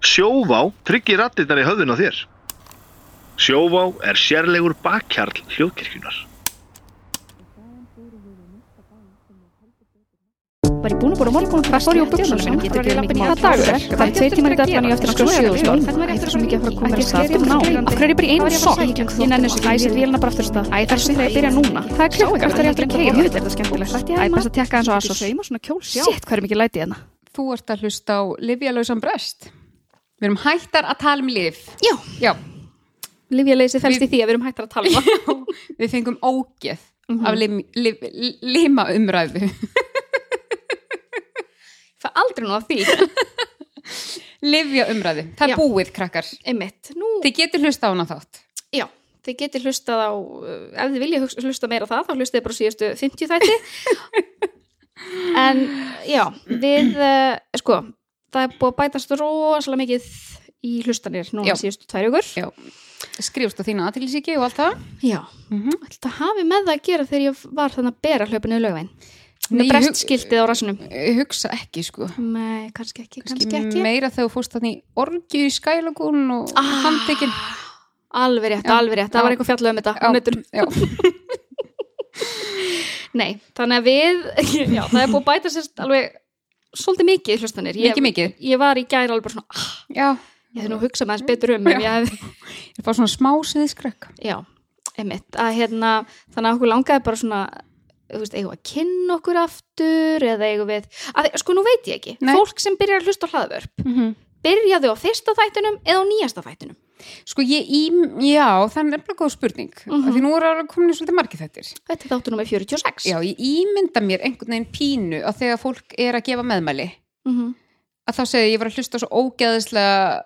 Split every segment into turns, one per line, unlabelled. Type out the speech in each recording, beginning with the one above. Sjóvá tryggir rattirnar í höfðun á þér. Sjóvá er sérlegur bakkjarl hljóðkirkjunar.
Var ég búin að búin að morgun hvað fór ég á buksunum mínum? Getur ekki lappin í
Hvaða
að
dagur er?
Það er tveir tímar í dagfann ég á eftir að skrúa sjóðustól. Æ, það er svo mikið að fara að koma mér af stað aftur. Ná, af hverju er ég bara í einum sokk? Ég nenni þessu ekki. Æ, set vélina bara aftur af stað. Æ, það er svo þegar ég byrja núna. Það er klukka, hvert er ég aftur að keira? Þetta er þetta skemmtilegt. Æ, best að tekka eins og asos. Shit, hvað er mikið læti hérna?
Þú ert að hlusta á Livjalausan bröst. Við erum hættar að tala um lif.
Já,
Já,
lyfjaleysið felst í því að við erum hættar að tala um það.
við fengum ógeð
Mhm.
af lim, lim, lima umræðu.
Það er aldrei nú af því.
Livja umræðu. Það
Já.
er búið, krakkar.
Einmitt. Nú,
Þið getur hlusta á hana þátt.
Já, þið getur hlustað á, uh, ef þið vilja hugsa- hlusta meira á það, þá hlustið þið bara á síðustu 50 þætti. en já, við, uh, sko, það er búið að bætast rosalega mikið í hlustanir núna
Já.
síðustu tvær ykkur.
Já. Skrifst á þína aðtilsíki og allt það.
Já,
Mhm.
alltaf hafi með það að gera þegar ég var þannig að bera hlaupinu í lögvein. Með
Nei, ég hug-
brestskiltið á rassinum.
Ég Hugsa ekki, sko.
Nei, kannski ekki, kannski
Kannski
ekki.
meira þegar þú fórst þannig í orgju í skælagún og
Ah.
handtekinn.
Alveg rétt,
Já.
alveg rétt. Það var
Já.
eitthvað fjallað um þetta. á
Já,
netinu.
já.
Nei, þannig að við já, það er búið að bæta sérst alveg svolítið mikið í hlustanir ég,
Mikið, mikið.
ég var í gæri alveg bara svona ah,
já.
ég hef nú hugsað maður betur um ef
Já.
ég hef,
Ég er bara svona smá siðskrökk.
já, einmitt að hérna, þannig að okkur langaði bara svona þú veist, eigum við að kynna okkur aftur eða eigum við, að, sko nú veit ég ekki
Nei.
fólk sem byrjar að hlusta á hlaðvörp
Mm -hmm.
byrjaðu á fyrsta þættinum eða á nýjasta þættinum
Sko ég í, já, það er nefnilega góð spurning mm
Mhm.
því nú eru komin svolítið margir þettir
þetta er þáttu nummer 46
Já, ég ímynda mér einhvern veginn pínu að þegar fólk er að gefa meðmæli
Mhm.
að þá segja ég var að hlusta á svo ógeðislega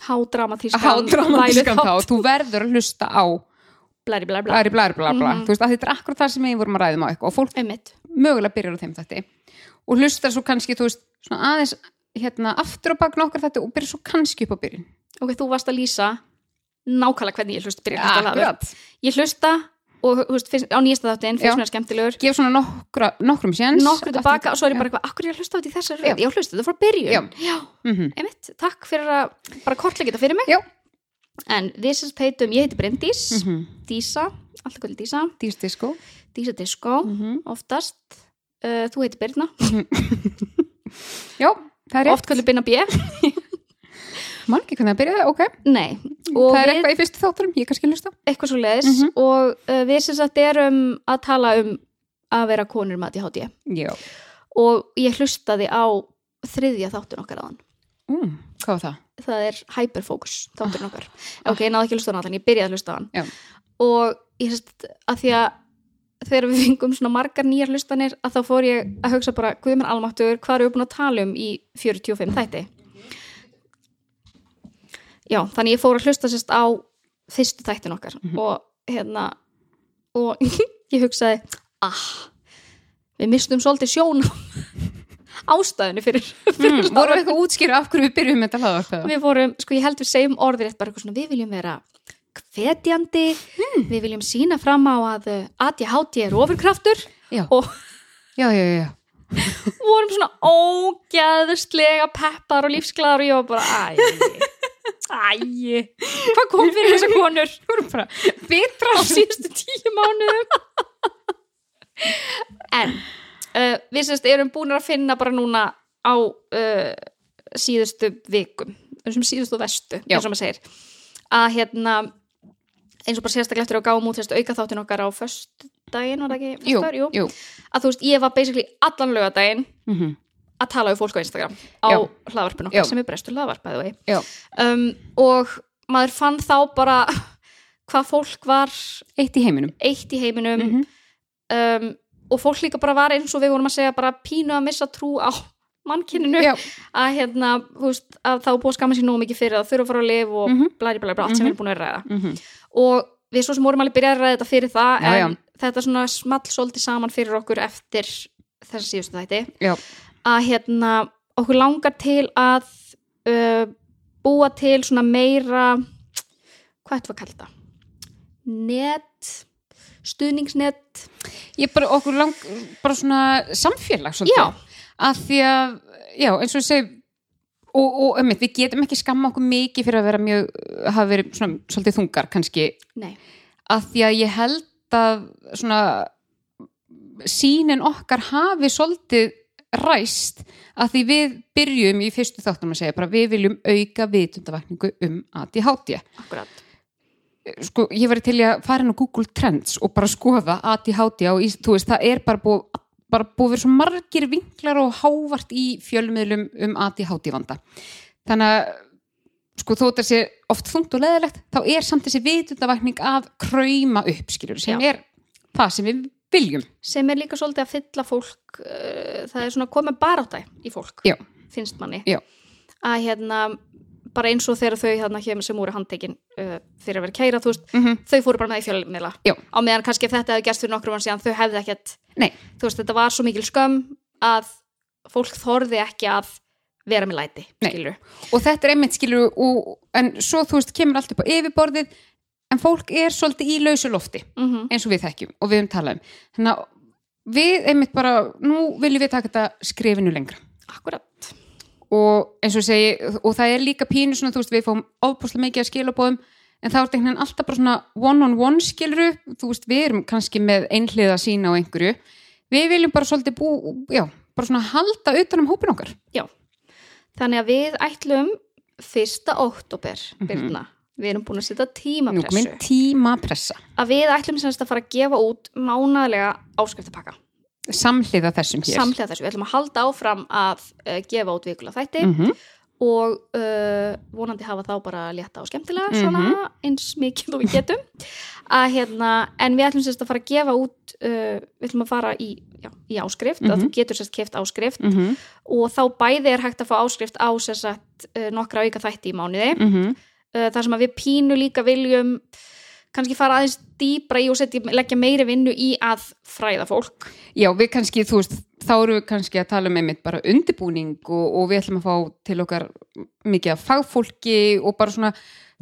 hádramatískan
hádramatískan þá
væluþátt.
þú verður að hlusta á
Blæri, blæri, blæri.
blæri blæri blæri blæri
Mhm.
þú veist að þetta er akkurat það sem við vorum að ræðum á eitthvað og fólk
einmitt,
mögulega byrjar á þeim þætti og hlustar svo kannski, þú veist, svona aðeins hérna aftur á bak nokkur þetta og byrjar svo kannski upp á byrjun
ok, þú varst að lýsa nákvæmlega hvernig ég hlust byrja að hlusta á hlaðvörp
Akkurat.
ég hlusta og þú veist, finnst, á nýjasta þáttin
Já.
finnst mér skemmtilegur
Gef svona nokkra, nokkrum séns
nokkru
Aftur-
tilbaka og svo er ég
Já.
bara eitthvað, akkur er ég að hlusta á þetta í þessari
Já.
röð ég hlusta þetta frá byrjun
Já.
Já,
Mhm.
einmitt, takk fyrir að bara kortlega þetta fyrir mig
Já.
en við sem sagt heitum, ég heiti Bryndís
Mhm.
Dísa, alltaf kvöldi Dísa
Dýrst disko
Dísa Disco,
Mhm.
oftast uh, þú heitir Birna,
Já, það er rétt
oft kvöldi Birna B
Man ekki hvernig það byrjaði, ok
nei, og
Mhm. Það er
við
eitthvað í fyrstu þáttunum, ég kannski hlusta
eitthvað svo leiðis
Mhm.
og uh, við sem sagt erum að tala um að vera konur með ADHD
Já
og ég hlustaði á þriðja þáttun okkar aðan
mm, Hvað var það?
það er hyperfocus þátturinn okkar ok, ég náði ekki að hlusta á hann allan, ég byrjaði að hlusta á hann
Ah. Já.
og ég hefst að því að þegar við fengum svona margar nýjar hlustanir að þá fór ég að hugsa bara Guðmann Almáttur, hvað erum við búin að tala um í 45 þætti já, þannig ég fór að hlusta sérst á fyrstu þættin okkar
Mhm.
og hérna og ég hugsaði ah, við mistum svolítið sjón ástæðinu fyrir, fyrir
Mm, voru eitthvað að útskýra af hverju við byrjuðum þetta hlaðvarp
við vorum, sko ég held við segjum orðir bara eitthvað svona, við viljum vera hvetjandi, við viljum sína fram á að uh, ADHD er ofurkraftur
Já.
og
Já, já, já, já
vorum svona ógæðslega peppar og lífsglæðar og ég var bara æj, æj hvað kom fyrir þessar konur
Vorum bara betra
á síðustu tíu mánuðum en uh, við sérst erum búin að finna bara núna á uh, síðustu vikum þessum síðustu og vestu,
Já.
eins og maður segir að hérna eins og bara sérstaklega eftir að við gáum út sérst auka þáttin okkar á föstudaginn, var það ekki?
Jú,
föstudagur?
jú
að þú veist, ég var basically allan lögadaginn
mm
að tala við fólk á Instagram á
Já.
hlaðvarpinu
Já.
okkar sem er brestur hlaðvarpaðu vei
Já,
um, og maður fann þá bara hvað fólk var
eitt í heiminum
eitt í heiminum
Mhm.
um, og fólk líka bara var eins og við vorum að segja bara pínu að missa trú á mannkinninu
Já,
að hérna, þú veist, að þá er búið að skama sér nógu mikið fyrir að þurfa að fara að lifa og mm
Mhm.
-hmm. blæri blæri allt sem við erum búin að ræða
mm
og við svo sem vorum alveg byrjað að ræða þetta fyrir það
Já, já.
en þetta svona small svolítið saman fyrir okkur eftir þessa síðustu þætti
já
að hérna, okkur langar til að uh, búa til svona meira hvað ættu að kalla þetta? Net stuðningsnet
Ég bara okkur lang, bara svona samfélag svolítið
Já.
Að því að, já, eins og ég segi og, og um við getum ekki skamma okkur mikið fyrir að vera mjög, hafa verið svona, svolítið þungar kannski,
Nei.
að því að ég held að svona sínin okkar hafi svolítið ræst að því við byrjum í fyrstu þáttum að segja bara við viljum auka vitundavakningu um ADHD
Akkurat.
sko, ég var til í að fara inn á Google Trends og bara skoða ADHD og í- þú veist, það er bara búið bara búið að vera svo margir vinklar og hávart í fjölmiðlum um ADHD vanda. Þannig að sko þó þetta sé oft þungt og leðilegt þá er samt þessi vitundavakning af krauma upp, skilur, sem
Já.
er það sem við viljum.
Sem er líka svolítið að fylla fólk, uh, það er svona komið barátta í fólk,
Já.
finnst manni.
Já.
Að hérna, bara eins og þegar þau hérna hér sem voru handtekin uh, fyrir að vera kæra, þú veist,
Mm -hmm.
þau fóru bara með í fjölmiðla.
Já.
Á meðan kannski ef þetta hefði gerst fyrir nokkrum hann síðan, þau hefði ekkert,
Nei,
þú veist, þetta var svo mikil skömm að fólk þorði ekki að vera með læti,
Nei.
skilur.
og þetta er einmitt skilur og, en svo þú veist kemur allt upp á yfirborðið en fólk er svolítið í lausu lofti
Mm
eins og við þekkjum og við um tala um þannig að við einmitt bara nú viljum við taka þetta skrifinu lengra
Akkurat.
og eins og ég segi og það er líka pínu svona þú veist við fáum ofbúslega mikið að skilabóðum en það er einhvern veginn alltaf bara svona one on one skiluru þú veist við erum kannski með einhliða sína á einhverju við viljum bara svolítið bú já, bara svona halda utan um hópin okkar
Þannig að við ætlum fyrsta oktober,
Mhm.
Birna, við erum búin að setja
nú komin
tímapressu,
tímapressa
að við ætlum semst að fara að gefa út mánaðlega áskriftapakka.
samhliða þessum hér
Samhlega þessu, við ætlum að halda áfram að uh, gefa út vikulega þætti
Mhm.
og uh, vonandi hafa þá bara létta og skemmtilega,
Mhm.
svona eins mikið og við getum. Að, hérna, en við ætlum semst að fara að gefa út, uh, við ætlum að fara í, já, í áskrift, að
Mhm.
þú getur semst keft áskrift
Mhm,
og þá bæði er hægt að fá áskrift á sem sagt, eh, nokkra auka þætti í mánuði
mhm,
Eh, þar sem að við pínu líka viljum kannski fara aðeins dýbra í og setja, leggja meiri vinnu í að fræða fólk
Já, við kannski, þú veist, þá eru við kannski að tala um einmitt bara undibúning og, og við ætlum að fá til okkar mikið af fagfólki og bara svona,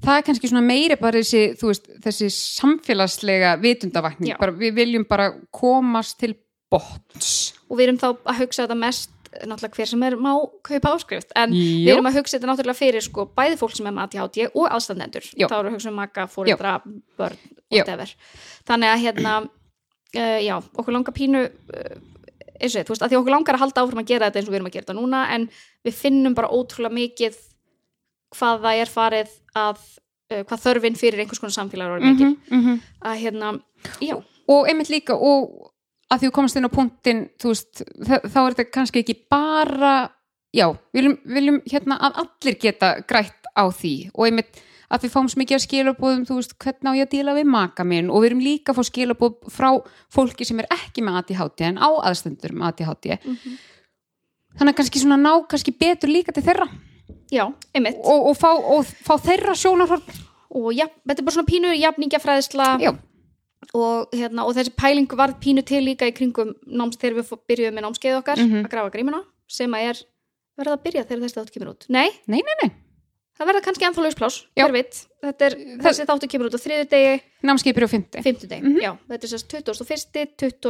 það er kannski svona meiri bara þessi, þú veist, þessi samfélagslega vitundavakning,
Já.
bara, við viljum bara komast til botns.
og við erum þá að hugsa þetta mest eh, náttúrulega hver sem er má kaupa áskrift en við
Jú,
erum að hugsa þetta náttúrulega fyrir sko, bæði fólk sem er með ADHD og aðstandendur
Já.
þá erum við að hugsa um maka, fóreldra, börn
Já.
whatever. þannig að hérna uh, já, okkur langar pínu uh, eins og þetta, þú veist, að því okkur langar að halda áfram að gera þetta eins og við erum að gera þetta núna en við finnum bara ótrúlega mikið hvað það er farið að uh, hvað þörfin fyrir einhvers konar samfélag er orðið mikil,
mhm.
að hérna já,
og einmitt líka og að því við komast inn á punktin þú veist, þa- þá er þetta kannski ekki bara já, viljum, viljum hérna að allir geta grætt á því og einmitt að við fáum svo mikið að skilabóðum, þú veist, hvernig á ég að díla við maka minn og við erum líka að fá skilabóð frá fólki sem er ekki með ADHD en á aðstendur með ADHD þannig að kannski svona ná kannski betur líka til þeirra
já, einmitt og,
og, og, fá, og fá þeirra sjónarhorn
já, þetta er bara svona pínu jafningjafræðisla
já,
og, hérna, og þessi pæling varð pínu til líka í kringum náms þegar við fó- byrjuðum með námskeið okkar
Mhm.
að grafa grímuna sem að er verða að byrja þegar þessi þáttu kemur út nei,
nei, nei, nei
það verða kannski ennþá lausplás,
Já.
hver veit Þetta er, þessi þáttu kemur út á þriðu degi
námskeipir á fymti,
fimmtu degi,
Mhm.
já, þetta er sérst 21.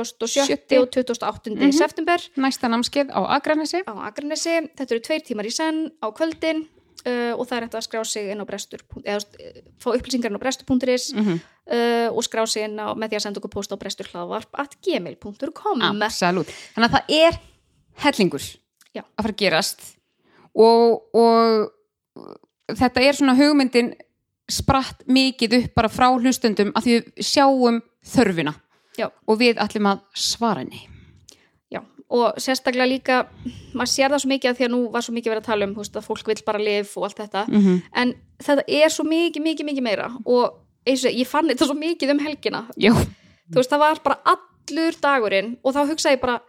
27.
Sjötti.
og 28.
Mhm.
september
næsta námskeið á Akranesi
á Akranesi, þetta eru tveir tímar í senn á kvöldin uh, og það er hægt að skrá sig inn á brestur eða þú veist, fá upplýsingar inn á brestur.is
mm -hmm.
uh, og skrá sig inn á, með því að senda okkur post á bresturhlaðvarp.gmail.com
Ah. Absolutt. Þannig að það er hellingur
Já.
að fara að gerast og, og þetta er svona hugmyndin spratt mikið upp bara frá hlustundum að því við sjáum þörfina
Já.
og við ætlum að svara henni.
Já, og sérstaklega líka maður sér það svo mikið að því að nú var svo mikið verið að tala um þú veist, að fólk vill bara lif og allt þetta
Mm -hmm.
en þetta er svo mikið, mikið, mikið meira og eins og ég fann þetta svo mikið um helgina
Jú,
þú veist, það var bara allur dagurinn og þá hugsaði ég bara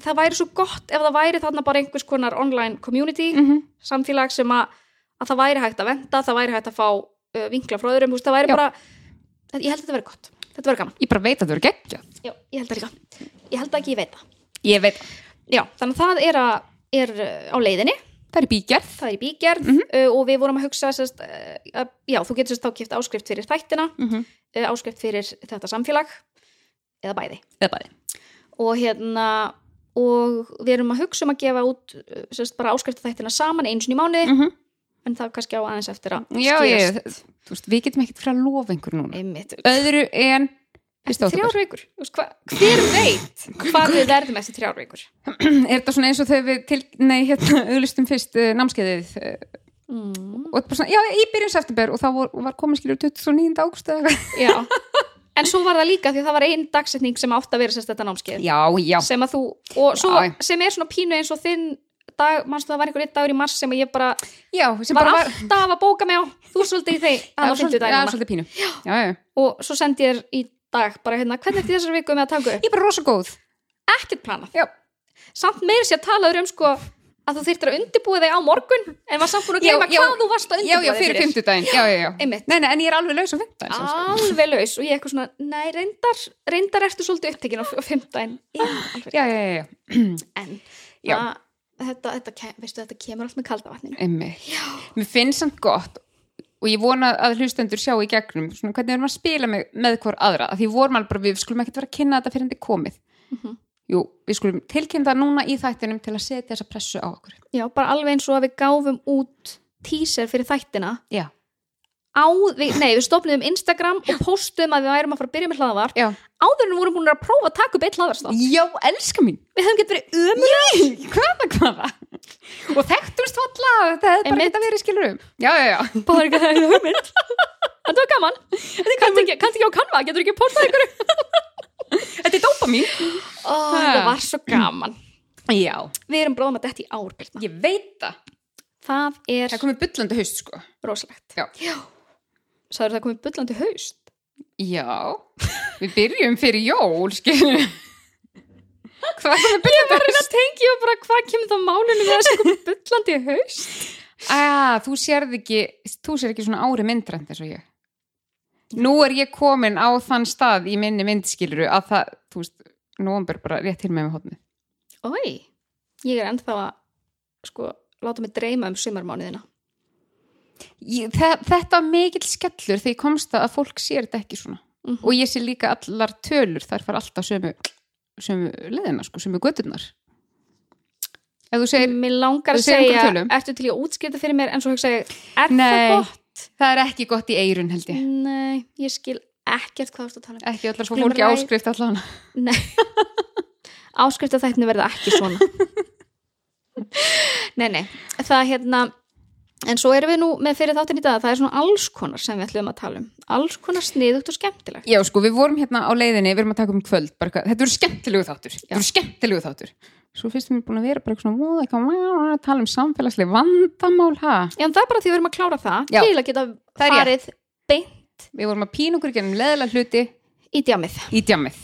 það væri svo gott ef það væri þarna bara einhvers konar online community
mm -hmm.
samfélag sem að, að það væri hægt að venda það væri hægt að fá uh, vinkla frá öðrum þú veist, það væri
Já.
bara, ég held að þetta verið gott þetta verið gaman,
ég bara veit að þú eru geggjað.
já, ég held það líka ég held ekki ég veit það
Ég veit,
Já, þannig að það er, að, er uh, á leiðinni,
það er bígerð.
það er í bígerð uh, og við vorum að hugsa sest, uh, að, já, þú getur sérst þá kipt áskrift fyrir þættina,
Mm -hmm.
uh, áskrift fyrir þetta samfélag eða bæði
Eða bæði.
og hérna og við erum að hugsa um að gefa út uh, sérst, bara áskrifta þættina saman eins og í mánuði
Mhm.
en það kannski á aðeins eftir að
Já, ég,
skýrast.
þú veist, við getum ekkert fyrir að lofa einhver núna
einmitt
öðru en fyrsta
eftir
október.
þrjár vikur Þú veist, hva, hver veit hvað við verðum eftir þrjár vikur
er þetta svona eins og þegar við til, nei, hérna, auðlistum fyrst uh, námskeiðið uh,
mm.
og þetta bara svona, já, í byrjun september og þá vor, var komin skilur 29. águst eða eitthvað
já en svo var það líka því að það var ein dagsetning sem átt að vera sérst þetta námskeið
já, já,
sem að þú, og svo
Já.
sem er svona pínu eins og þinn dag, mannstu það var einhver eitt dagur í mars sem ég bara
já, sem
var
bara var
alltaf að bóka mig á þú ert svolítið í þeim, það
Já,
var
svolítið-
fymtu
já,
dag
svolítið pínu já, já.
og svo sendi ég þér í dag bara hérna, hvernig eftir þessar viku með að taka
ég er bara rosa góð
upp ekkert planað,
já,
samt meira sér talaður um sko að þú þyrftir að undirbúa þig á morgun en var samt búin að gleyma
Já, já.
hvað þú varst að
já, já,
undirbúa þig
fyrir fimmtudaginn já, já, já,
Einmitt. Ah.
nei, nei, en ég er alveg laus á fimmtudaginn sem sagt.
alveg laus og ég eitthvað svona, nei, reyndar reyndar ertu svolítið upptekin á, á fimmtæn
já, já, já, já,
en
Já.
að, þetta, þetta, ke- veistu, þetta kemur allt með kalda vatninu
einmitt mér finnst samt gott og ég vona að hlustendur sjá í gegnum svona hvernig við erum að spila með, með hver aðra að því vorum alveg bara, við skulum ekkert vera að kynna þetta fyrir henni komið
Mhm.
jú, við skulum tilkynna það núna í þættinum til að setja þessa pressu á okkur
já, bara alveg eins og að við gáfum út teaser fyrir þættina
já,
á, við, nei, við stopnum Instagram og postum að við værum að fara að byrja með hlaðvarp
já,
áður en við vorum búin að prófa að taka upp eitt hlaðvarstá
já, elska mín
við höfum gett verið um
Nei, hvaða, hvaða og þekktumst falla, þetta hefði bara
Einmitt.
geta verið skilurum já, já, já,
bara ekki að það er hugmynd þetta var gaman, kannst ekki, kannst ekki á kanva getur ekki postað ykkur
þetta er dópa mín
oh, þetta var svo gaman
já,
við erum bróðum að detti í ár Birna.
ég veit það
það er
það er komið bullandi haust sko
rosalegt
Já.
Sæður það komið bullandi haust
já, við byrjum fyrir jól skilu hvað er komið bullandi haust
Það tengi ég bara hvað kemur það málinu við að það komið bullandi haust
Ah, þú sérð ekki, þú sérð ekki svona ári myndrænt eins og ég. Nú er ég komin á þann stað í minni myndskiluru að það, þú veist, nóvambur bara rétt til með með hóttni.
Ói, ég er ennþá að sko, láta mig dreyma um sumarmánuðina
Þetta var mikill skellur þegar ég komst að að fólk sér þetta ekki svona.
Mhm.
Og ég sé líka allar tölur, þær fara alltaf sömu, sömu leðina, sko, sömu göturnar. Ef þú segir,
Mér langar
Þú
að
segir
segja,
einhverjum tölum?
ertu til í að útskýrta fyrir mér en svo hugsa ég, er
Nei.
það gott?
það er ekki gott í eirun held ég.
Nei, ég skil ekkert hvað þú ert að tala um
Ekki allar svo
Skulum
fólki
ræ-
áskrift allan.
Áskrifta þættinu verða ekki svona Nei, nei, það hérna En svo erum við nú með fyrir þáttin í dag að það er svona alls konar sem við ætlum að tala um alls konar sniðugt og skemmtilegt
Já, sko, við vorum hérna á leiðinni, við erum að taka um kvöld, bara eitthvað, þetta eru skemmtilegu þáttur, þetta eru skemmtilegu þáttur. Svo finnst mér búin að vera bara eitthvað svona, móða, eitthvað, "Vá, að tala um samfélagsleg vandamál, ha?
Já, en það er bara því við erum að klára það
Já.
til að geta
Það er
farið beint
Við vorum að pína okkur í gennum leðilega hluti
í djamið.
í djamið.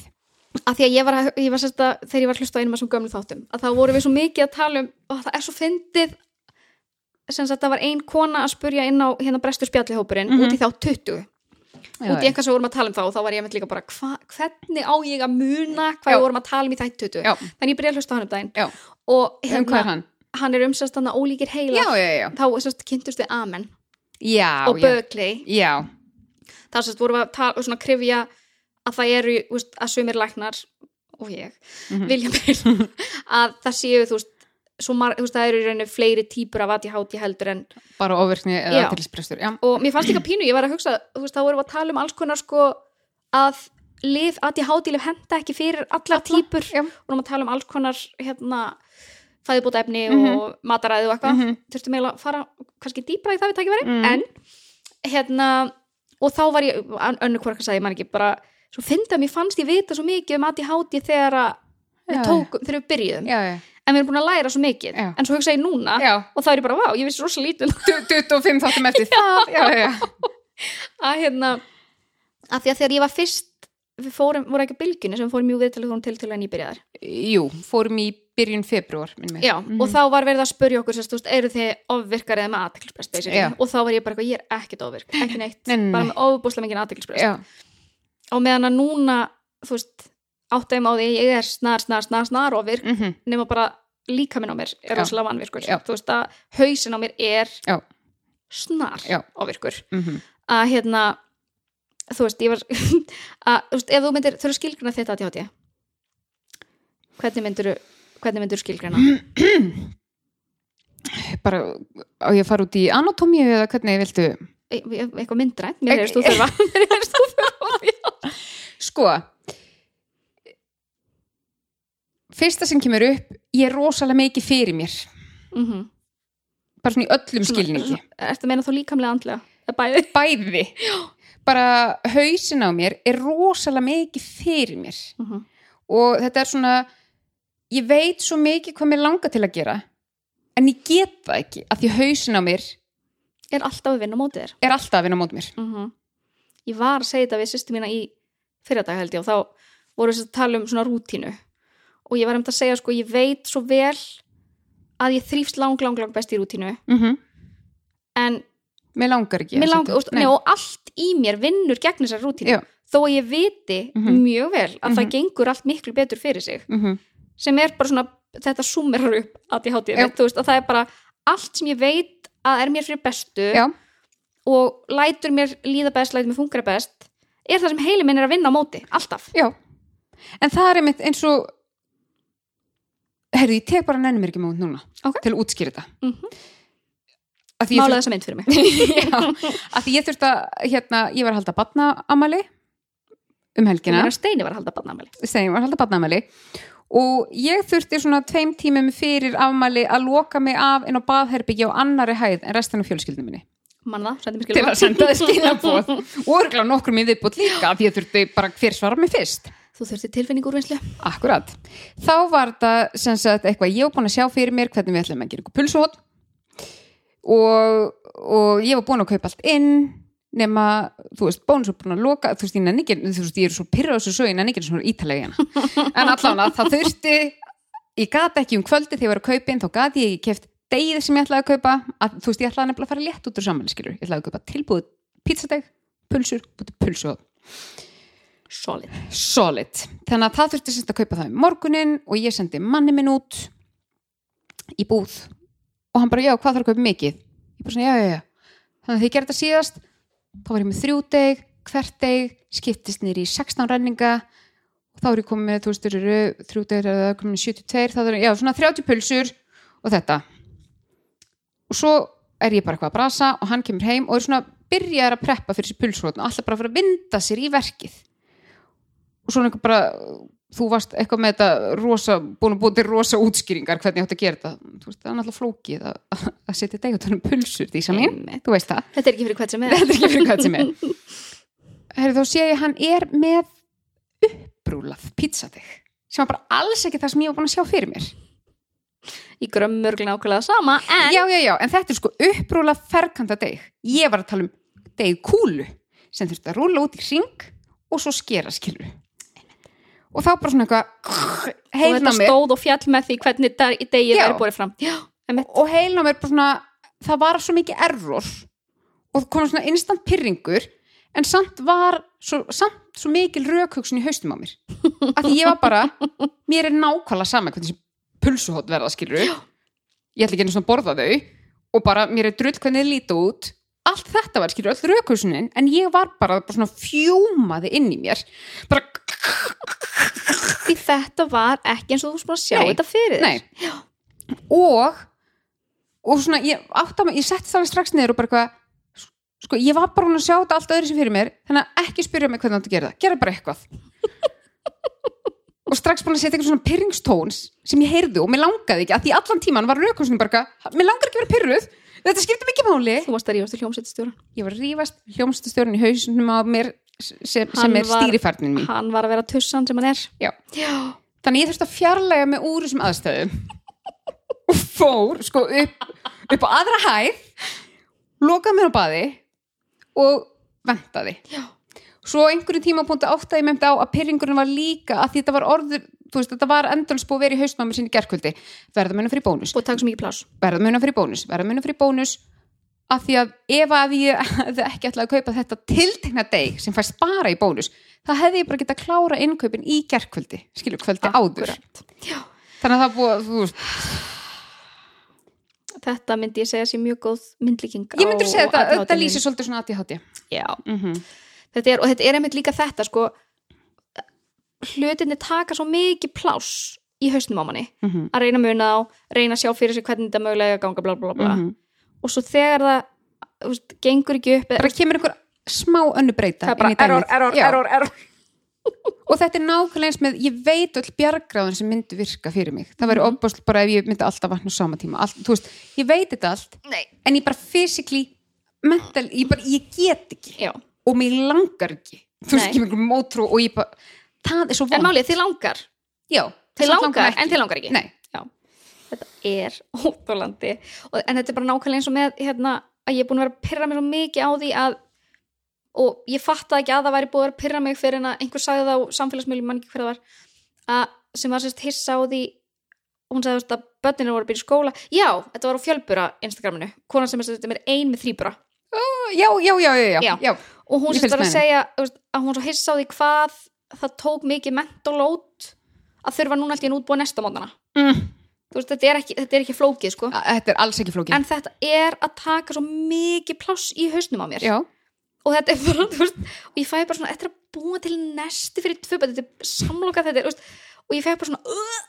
Af því að ég var, að, ég var sérst að þegar ég var að hlusta á einum af þessum gömlu þáttum að þá vorum við svo mikið að tala um og það er svo fyndið sem sagt það var ein kona að spurja inn á hérna brestur spjallihópurinn
Mhm.
út í þá 20 út í eitthvað sem við vorum að tala um þá og þá var ég með líka bara hva, hvernig á ég að muna hvað
Já.
við vorum að tala um í þætt 20
Já.
þannig ég byrja að hlusta á hann um daginn
Já.
og
um hvað er
hérna,
hann?
hann er um sérst þannig ólíkir heila
Já, já, já.
þá sérst kynntust við Amen
Já,
og
já.
Bögley
Já,
þar sérst vorum við að tala og svona krifja að það eru, þú veist, að sumir læknar og ég,
Mhm.
vilja meira að það séu, þú veist svo mar, þú veist, það eru í rauninu fleiri típur af ADHD heldur en,
bara ofvirkni eða
Já.
aðtælisbrestur. Já,
og mér fannst líka pínu ég var að hugsa, þú veist, þá vorum við að tala um alls konar sko að lif, ADHD lif henda ekki fyrir allar típur
já.
og vorum að tala um alls konar hérna, fæðibóta efni
Mhm.
og mataræði og eitthvað
Mhm.
þurftum eiginlega að fara kannski dýpra í það við tækifæri
Mhm.
en hérna og þá var ég, önnu hvorka sagði ég man ekki bara, svo fyndi að mér fannst ég vita svo mikið um ADHD þegar að við
Já,
tókum, þegar við byrjuðum
já, já.
en við erum búin að læra svo mikið,
Já.
en svo hugsa ég núna
Já,
og þá er ég bara, vá, ég vissi rosa lítið um
Tu- 25 þáttum eftir það, já, já, já.
að hérna, að því að þegar ég var fyrst við fórum, voru ekki á bylgjunni sem við fórum mjög viðtalið fórum til til að nýbyrjaðar
Jú, fórum í byrjun februar, minn mig. Mhm.
Já, og þá var verið að spurja okkur sérst, þú veist, eru þið ofvirkar eða með aðteklisbrest basically?
Já.
og þá var ég bara eitthvað, ég er ekkert ofvirk ekki neitt,
Nei, nei,
bara
nei.
með ofbúslega mikið aðteklisbrest
Já,
og meðan að núna, þú veist áttægum á því, ég er snar, snar, snar, snar ofvirk,
mhm,
nema bara líka minn á mér er
Já.
rosalega vanvirkur,
Já.
þú veist að hausin á mér er
Já.
snar
Já.
ofvirkur,
mhm.
að hérna þú veist, ég var að, þú veist, ef þú myndir, þú eru skilgruna þetta að tjátti hvernig myndir hvernig myndur skilgreina
bara á ég að fara út í anatómíu eða hvernig viltu
e e eitthvað myndrænt, mér hefur stúð þurfa mér hefur stúð þurfa
sko fyrsta sem kemur upp ég er rosalega mikið fyrir mér
mm -hmm.
bara svona í öllum skilningi
ertu að meina þá líkamlega andlega Það er bæði
bæði bara hausin á mér er rosalega mikið fyrir mér
Mhm.
og þetta er svona ég veit svo mikið hvað mér langar til að gera en ég get það ekki að því hausin á mér
er alltaf að vinna á mótið þér
er alltaf að vinna á móti mér
-hmm. Ég var að segja þetta við sýstu mína í fyrradag held ég og þá voru þess að tala um svona rútínu og ég var um þetta að segja sko ég veit svo vel að ég þrýfst lang, lang, lang best í rútínu
mm -hmm.
en
mér langar ekki
mér
að
lang,
setja-
og, nei, og allt í mér vinnur gegn þessar rútínu
Já.
þó að ég viti
Mhm.
mjög vel að það
Mhm.
gengur allt miklu betur fyrir sig
Mhm.
sem er bara svona þetta summerar upp að ég hátíð
Já.
þú veist að það er bara allt sem ég veit að er mér fyrir bestu
já,
og lætur mér líða best, lætur mér fungra best er það sem heili minn er að vinna á móti, alltaf
já en það er einmitt eins og herðu, ég tek bara nennum mér ekki mót núna
Ok.
til að útskýra þetta
mm
að því ég,
mála þessa mynd fyrir mig
þurft, að því ég þurft að hérna, ég var að halda batna amali um helgina
Gunnar Steini var að halda barnamæli
sem ég var að halda barnaafmæli og ég þurfti svona tveim tímum fyrir afmæli að loka mig af inn á baðherbyggja á annari hæð en restan af fjölskyldinu minni
manna það, sendi mér
til
skilur
að senda þið skilabóð og örgla nokkrum í viðbót líka af því ég þurfti bara hver svara mig fyrst
þú þurfti tilfinning úrvinnslu
Akkurat. Þá var þetta sem sagt eitthvað ég var búin að sjá fyrir mér hvernig við ætlum að gera eitthvað pulsuhótt og, og ég var búin að kaupa allt inn nema, þú veist, bónus var búin að loka þú veist, ég nenni ekki, þú veist, ég er svo pyrrað þessu sögin en ekki svona ítalega hérna en allan að það þurfti ég gat ekki um kvöldi þegar ég var að kaupa inn þá gat ég ekki keft degið sem ég ætlaði að kaupa að, þú veist, ég ætlaði nefnilega að fara létt út úr saman skilur, ég ætlaði að kaupa tilbúið pizzadeg pulsur, búið pulsuhótt
solid
solid þannig að það þurfti semst að kaupa það um morgunin og ég sendi manni minn út í búð og hann bara já hvað þarf að kaupa mikið ég bara svona já já já þannig að því ég gerði þetta síðast þá var ég með þrjú deg, hvert deg skiptist nýri í 16 renninga og þá er ég komið með þú veist eru þrjú deg eða komin í 72 það er já svona 30 pulsur og þetta og svo er ég bara eitthvað að brasa og hann kemur heim og er svona byrjaður að preppa fyrir þessi pulsrótn og alltaf bara að fara að vinda sér í verkið og svona eitthvað bara þú varst eitthvað með þetta rosa búin að búin til rosa útskýringar hvernig ég átti að gera þetta þú veist, það er náttúrulega flókið að, að- að setja degutunum pulsur því saman
Einmitt.
þú veist það
þetta er ekki fyrir hvert sem er
þetta er ekki fyrir hvað sem er Herri, þá sé ég að hann er með uppbrúlað pizzadeg sem var bara alls ekki það sem ég var búin að sjá fyrir mér
í grömmurglun ákveðlega sama en
já, já, já, en þetta er sko upprúlað ferkanta deg ég var að tala um deg kúlu sem þurfti að rúla út í ring og svo skera skilur og þá bara svona eitthvað
og þetta
heilna mér
stóð og fjall með því hvernig dag, í degið
Já.
er borið fram já, einmitt.
og heilna mér bara svona það var svo mikið error og það kom svona instant pyrringur en samt var svo, samt svo mikil rökhugsun í haustum á mér af því ég var bara, mér er nákvæmlega sama hvernig sem pulsuhótt verða skilur ég ætla ekki einu svona að borða þau og bara mér er drull hvernig þið líta út allt þetta var skilur, öll rökhugsunin en ég var bara, bara svona fjúmaði inn í mér bara,
því þetta var ekki eins og þú spúin að sjá
Nei.
þetta fyrir þér.
nei og og svona, ég átta mig, ég setti það alveg strax niður og bara eitthvað sko, ég var bara hún að sjá þetta allt öðru sem fyrir mér þannig að ekki spyrja mig hvernig þetta gera það, gera bara eitthvað og strax búin að setja eitthvað svona pyrringstóns sem ég heyrði og mér langaði ekki, að því allan tíman var raukursinu bara eitthvað, mér langar ekki að vera pyrruð þetta skiptir mikið máli
þú varst að rífast til hljómsættistjóra
ég var að rífast hljómsstjórn í hausunum á mér sem,
Hann
sem er
var-
stýrifærnin mín
hann var að vera tussan sem hann er
Já.
já,
þannig að ég þurfti að fjarlæga mig úr þessum aðstæðum og fór sko upp, upp á aðra hæð lokaði mér á baði og ventaði
Já.
svo á einhverjum tímapunkti áttaði ég memt á að pyrringurinn var líka að því þetta var orður þú veist, þetta var endalsbú verið í haustmámi sinni gerkvöldi verða muna fyrir bónus
og takk svo mikið pláss
verða muna fyrir bónus, verða muna fyrir bónus af því að ef að ég hefði ekki ætlaði að kaupa þetta tiltekna deg sem fæst bara í bónus það hefði ég bara geta klára innkaupin í gerkvöldi skilur kvöldi áður
Akkúrat. Já.
þannig að það búið, að, þú veist,
þetta myndi ég segja sé mjög góð myndlíking
ég myndur segja þetta þetta
ADHD
lýsir svolítið svona aðtíð hátíð
Já,
mm -hmm.
þetta er, og þetta er einmitt líka þetta sko hlutinni taka svo mikið pláss í í hausnum á manni
mhm,
að reyna að muna á, reyna að sjá fyrir sig hvernig þetta mögulega er að ganga bla bla bla
mhm.
og svo þegar það þú veist, gengur ekki upp eða,
bara kemur einhver smá önnu breyta
það er bara
inn í dæmið.
error, error,
Já.
error, error
og þetta er nákvæmlega eins með ég veit öll bjargráðin sem myndu virka fyrir mig það
Mhm.
væri ofbásl bara ef ég myndi alltaf vatn á sama tíma allt, þú veist, ég veit þetta allt
Nei.
en ég bara physically, mental ég, bara, ég get ekki
Já.
og mér langar ekki þú veist,
Nei.
ekki með einhverjum mótrú og ég bara það er svo
en
vond
málið, þið langar,
Já,
þið
samt
langar,
ekki.
en þið langar ekki
Nei,
þetta er óþólandi og, en þetta er bara nákvæmlega eins og með hérna, að ég er búin að vera að pyrra mér svo mikið á því að og ég fattaði ekki að það væri búin að vera að pyrra mig fyrir en að einhver sagði það á samfélagsmiðlum mann ekki hver það var að, sem var sérst hissa á því hún sagði þú veist, að börninu voru að byrja í skóla já, þetta var á fjölbura Instagraminu konan sem er sérst með ein með þrýbura
já, já, já, já, já.
Já.
já.
og hún
Ég
sérst
fylgst
var að
með henni.
segja þú veist, að hún svo hissa á því hvað það tók mikið mentólót að þurfa núna allt í enn útbúa næsta mótana
Mm.
veist, þetta, er ekki, þetta er ekki flókið sko
Þetta er alls ekki flókið
en þetta er að taka svo mikið pláss í hausnum á mér
Já,
og þetta er bara, þú veist, og ég fæ bara svona eftir að búa til næsti fyrir tvö börn, þetta er samlokað þetta, er, þú veist, og ég fæ bara svona uh,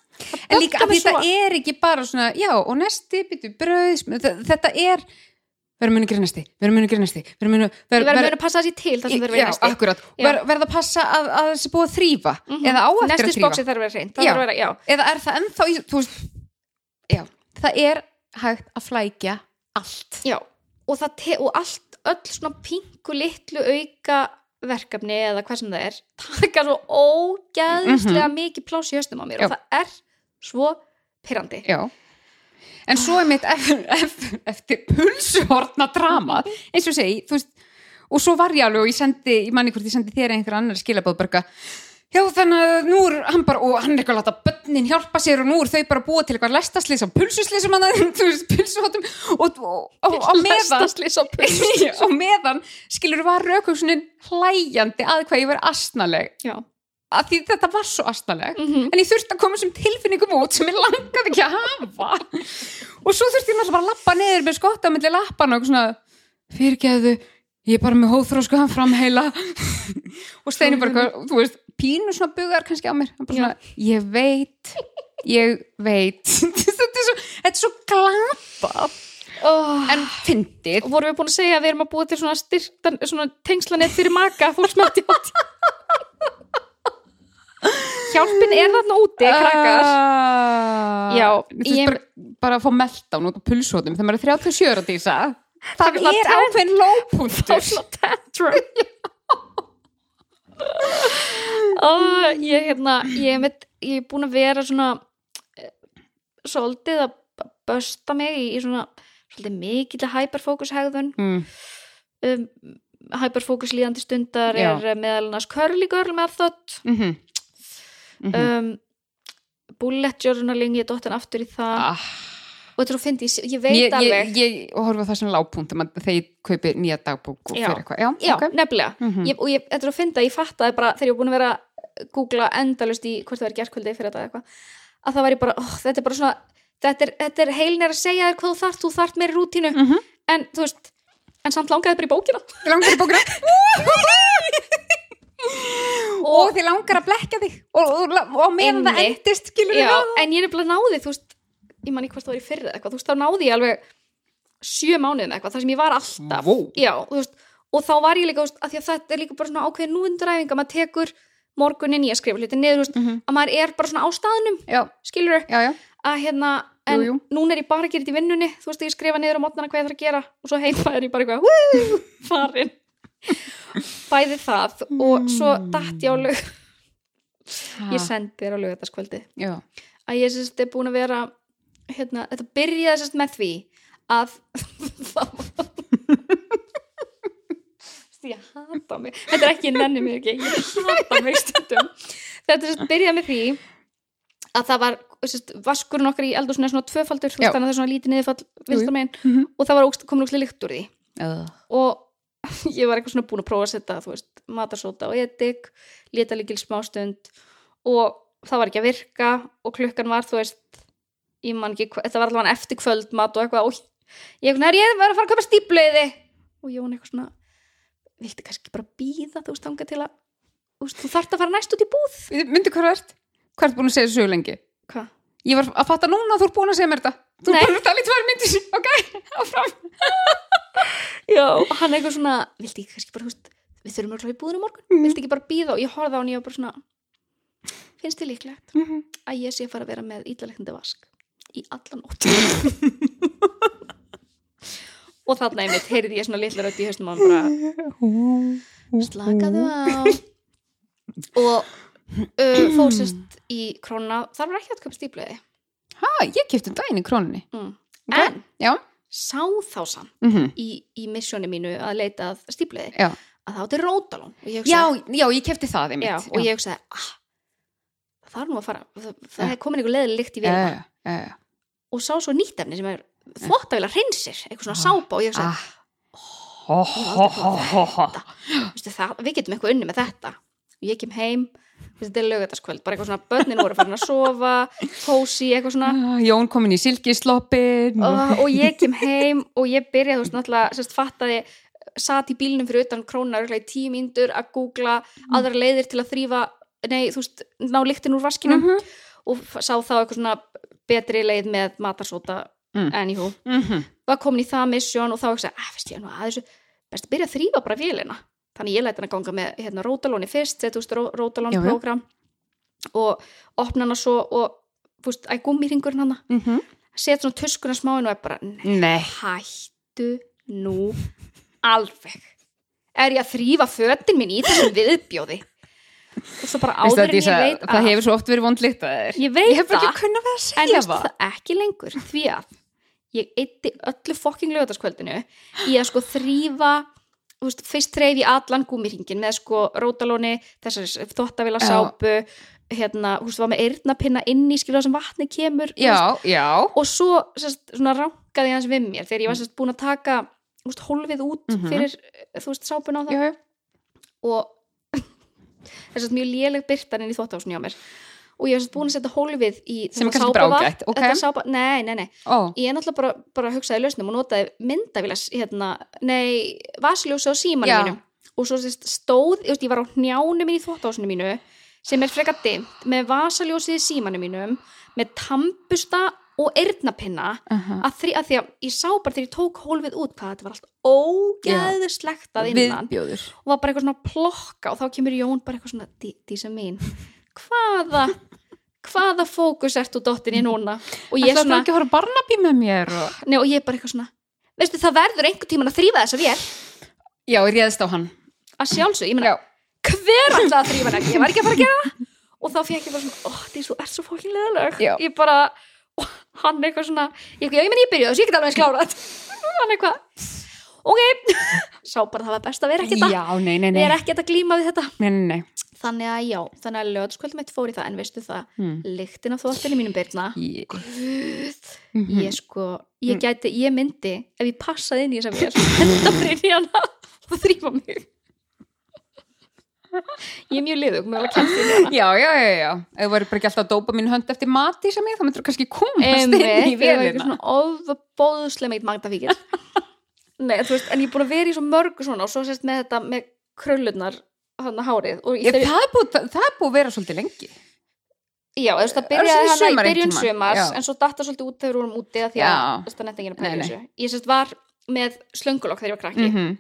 en líka
böggar
að
mig
þetta
svo.
er ekki bara svona, já, og næsti byttu brauð, sm- þe- þetta er verðum munið grænasti, verðum munið grænasti verðum munið,
ég
verðum
verður að passa þessi til það sem verður
já,
verið næsti
akkurat,
Já. Mhm.
Ver, verða að passa að, að þessi búið að þrýfa eða á eftir
næsti
að þrýfa
spóksi þarf að vera hreint,
Já.
það þarf að vera, já,
eða er það ennþá, í, þú veist já, það er hægt að flækja allt
já og, það te- og allt, öll svona pinku litlu auka verkefni eða hvað sem það er, taka svo ógæðislega mikið pláss í hausnum á mér
Já.
og það er svo pyrrandi
já en svo er mitt eftir, eftir, eftir pulshortna drama eins og ég segi, þú veist og svo var ég alveg og ég sendi, ég manni hvort ég sendi þér einhver annar skilabóð bara eitthvað, já þannig að nú er hann bara og hann er eitthvað að láta bönnin hjálpa sér og nú er þau bara að búa til eitthvað lestaslis á pulsuslísum hann að þú veist pulsuhotum og, og, og, og meðan
Lestaslis á pulsu.
og meðan skilur var raukursunin hlæjandi að hvað ég var astnaleg
Já.
að því þetta var svo astnaleg
Mhm.
en ég þurfti að koma sem tilfinningum út sem ég langaði ekki að hafa og svo þurfti ég náttúrulega bara að lappa niður með skotta millir lappan og eitthvað svona fyrirgeðu, ég er bara með hóþróskuðan framheila og steinu bara, eitthvað, þú veist, pínu svona bugar kannski á mér, Hann bara svona, ég veit ég veit þetta er svo, þetta er svo glatað
Oh.
en fyndið
vorum við búin að segja að við erum að búa til svona styrktan, svona tengslanett fyrir maka fólks með ADHD Hjálpin er þarna úti, krakkar
krakkar
Já,
ég...
ég-
Ah. bara, bara að fá meltdown út á pulsótum þegar maður er 37 að dísa það,
er svona
er
tætt.
ákveðin
Þá
lógpunktur
svona tantrum oh, Ég hérna ég, mitt, ég er búin að vera svona eh, svolítið að b- bösta mig í, í svona svolítið mikill hyperfókus hegðun
mm.
um, hyperfókus líðandi stundar
Já.
er eh, meðal annars curly girl method
mm -hmm. Mhm.
um, bullet journaling ég er dottin aftur í það
ah,
og þetta er svo fyndi, ég veit
ég,
alveg
ég, ég horfa á það sem lágpunkt þegar maður- þegar ég kaupi nýja dagbúk og
Já.
fyrir eitthvað já,
já,
ok.
nefnilega
Mhm.
ég, og ég, þetta er svo fyndi að ég fattaði bara þegar ég var búin að vera að googla endalust í hvort það er gerkvöldi fyrir þetta eða eitthvað að það var ég bara, ó, þetta er bara svona þetta er, þetta er heilin er að segja þér hvað þú þart þú þart meiri rútínu
Mhm.
en þú veist, en samt langaði bara í bókina
Þig langar í bókina og þið langar að blekja þig og, og, og meðan það
Einmitt.
endist skilur
já, en ég er nefnilega náði þú veist, ég man ekki hvort það var í fyrir eitthvað þú veist, þá náði ég alveg sjö mánuðin eitthvað, þar sem ég var alltaf
Vó.
já, og þú veist, og þá var ég líka þú veist, að því að þetta er líka bara svona ákveðin núunduræfing að maður tekur morgunin í að skrifa hluti niður, þú veist,
Mhm.
að maður er bara svona á staðnum
já,
skilur
já, já,
að hérna en
Jú, jú.
núna er ég bara að gera þetta í vinnunni þú veist, ég skrifa niður á mótnana hvað ég þarf að gera og svo heima er ég bara eitthvað "Woo, farin bæði það og svo datt ég á lög
Ah.
ég sendi þér á lögataskvöldi
já.
að ég sérst er búin að vera hérna, þetta byrjaði sérst með því að það var Sérst, ég hata mig þetta er ekki, ég nenni mig ekki ég hata mig stundum þetta sérst byrjaði með því að það var sérst, vaskurinn okkar í eldhúsinu er svona tvöfaldur þú
Já.
veist, þannig að það er svona lítið niðurfall
Jú, jú.
vinstra megin
Mhm.
og það var ógst, komin ógstlega lykt úr því
Uh.
og ég var eitthvað svona búin að prófa að setja þú veist, matarsóta og edik leta líkil smástund og það var ekki að virka og klukkan var, þú veist ég man ekki, hva- þetta var allavega eftir kvöldmat og eitthvað og ég eitthvað, er ég var að fara að köpa stíplauði og Jón eitthvað svona viltu kannski bara býða, þú veist, þanga til að þú veist, þú þarft að fara næst út í búð
myndu hvað þú ert hvað ert búin að segja þessu lengi
Hva?
Ég var að fatta núna að þú er búin að segja mér þetta. Þú
Nei.
er búin að tala í tvær myndir, ok? Áfram.
Já, og hann eitthvað svona, vildi ekki kannski bara, þú veist, við þurfum að í búðinu morgun,
Mhm.
vildi ekki bara býða og ég horfði á hann og ég var bara svona, finnst þið líklegt að ég sé að fara að vera með ídlaleknandi vask í alla nótt. og þarna einmitt heyrði ég svona litla rödd í hausnum á hann bara, slakaðu á og uh, fórsist í krónuna þar var ekki að köpa stíflöði
Ha, ég kefti um daginn í króninni.
mm.
Ok.
en
Já.
sá þá samt
Mm
í, í missjónu mínu að leita að stíflöði
Já.
að þá átti rótalón og ég
Já,
hugsaði,
já, ég kefti það einmitt.
já, og ég hugsaði ah, það er nú að fara það, það
Já.
er komin einhver leðið lykt í
Já,
við
já, já, já.
og sá svo nýtt efni sem er þvottavíla hreinsir, eitthvað svona sápa og ég hugsaði,
Ah. Ho, ho, ho, ho, ho.
"Mm, veistu það, við getum eitthvað unni með þetta og ég kem heim veistu, þetta er lögataskvöld, bara eitthvað svona börnin voru farin að sofa, kósi, eitthvað svona Ah,
Ah, Jón komin í silkisloppin.
og, og ég kem heim og ég byrjaði, þú veist, náttúrulega sérst fattaði, sat í bílnum fyrir utan krónar í tíu mínútur að googla
Mm.
aðra leiðir til að þrýfa nei, þú veist, ná lyktin úr vaskinum
Mhm.
og f- sá þá eitthvað svona betri leið með matarsóta
Mm.
en jú,
Mhm.
var komin í það misjón og þá ekki að, veist ég, nú að þessu best að byrja að þrýfa bara vélina þannig ég læti hann að ganga með hérna, rótalóni fyrst setja úst rótalón
Já, já.
program og opna hana svo og, þú veist, að gummi hringurinn hana
Mhm.
setja svona tuskuna smáin og er bara nei,
Nei.
hættu nú alveg er ég að þrýfa fötin mín í þessum viðbjóði og svo bara
Veistu
áður en
að
ég
Dísa,
veit
það
af-
hefur svo oft verið vond lykt að þér.
ég veit
Ég hef bara
það
ekki kunnað verið að
en
segja
veist
það.
það ekki lengur því að ég eitti öllu fokking lögataskvöldinu í að sko þrýfa þú veist, fyrst þreif ég allan gúmiringin með sko rótalóni, þessari þvóttavila
Já.
sápu hérna, þú veist, var með eyrnapinna inn í skilur það sem vatni kemur þú
Já, já.
og svo sest, svona rankaði hans við mér þegar ég var sest, búin að taka þú veist, hólfið út
Mhm.
fyrir eh, þú veist, sápuna á það
Já, já.
og þess að mjög léleg byrtan inn í þvóttásun hjá mér og ég var sest, búin að setja hólfið í
Sem er
þetta
kannski bara
sápuvatn-
ágætt, ok.
þetta sápa, nei, nei, nei,
Ó,
ég er náttúrulega bara, bara hugsaði í lausnum og notaði myndavílas hérna, nei, vasljósi á símanum
Já.
mínum og svo sest, stóð, ég, veist, ég var á hnjánum inn í þvóttásunum mínu sem er frekar dimmt með vasaljósið í símanum mínum með tampusta og eyrnapinna
aha.
að, þri, að því að ég sá bara þegar ég tók hólfið út hvað þetta var allt ógeðuslegt að innan
Viðbjóður.
og var bara eitthvað svona að plokka og þá kemur Jón bara eitthvað svona "Dí- dísa mín, hvaða hvaða fókus ert þú dottinni núna og ég,
Ætlaðu
svona,
svona... ekki að horfa á barnabí með mér og...
nei, og ég bara eitthvað svona veistu það verður einhvern tíman að þrýfa þessa vél
Já, ég réðist á hann.
að sjálfsög, ég meina
Já.
hver alltaf að þrýfa hana, ég var ekki að fara að gera það og þá fekk ég bara svona, ó, oh, Dísu, þú ert svo fólkin leðaleg
Já.
ég bara, og hann eitthvað svona ég, já, ég meni ég byrjaði, þessu ég get alveg eins klára þetta hann eitthvað, ok sá bara það var best að vera ekki þetta
Já, nei, nei, nei.
við erum ekki að glíma við þetta
Nei, nei, nei.
þannig að já, þannig að lögðskvöldum eitt fór í það en veistu það,
Hmm.
lyktin af þvóttinu mínum byrna
Ég... Mhm.
ég sko, ég gæti, ég myndi ef ég passaði inn í þess að við þetta brinn í hana og þrýfa mig ég er mjög liðug, mér var að kemta í hana
Já, já, já, já. Ef þú væri bara ekki alltaf að dópa mín hönd eftir mati sem ég, þá myndur þú kannski komast inn í
Einmitt, ég var eitthvað
velina.
svona ofbóðslega meitt magdafíkir Nei, þú veist, en ég er búin að vera í svo mörgu svona og svo sérst með þetta með kröllurnar hann hárið og
Ég,
ég,
það, er búið, það, það er búið að vera svolítið lengi.
já, þú veist, það
svona
byrjaði hann
sumar
í byrjun
einhvern tíman,
sumars
já.
en svo datta svolítið út þegar við vorum úti að því að
Já.
þú veist, það nefndi enginn að pæla
Nei,
í
nei.
þessu Ég sérst var með slöngulokk þegar ég var krakki
Mm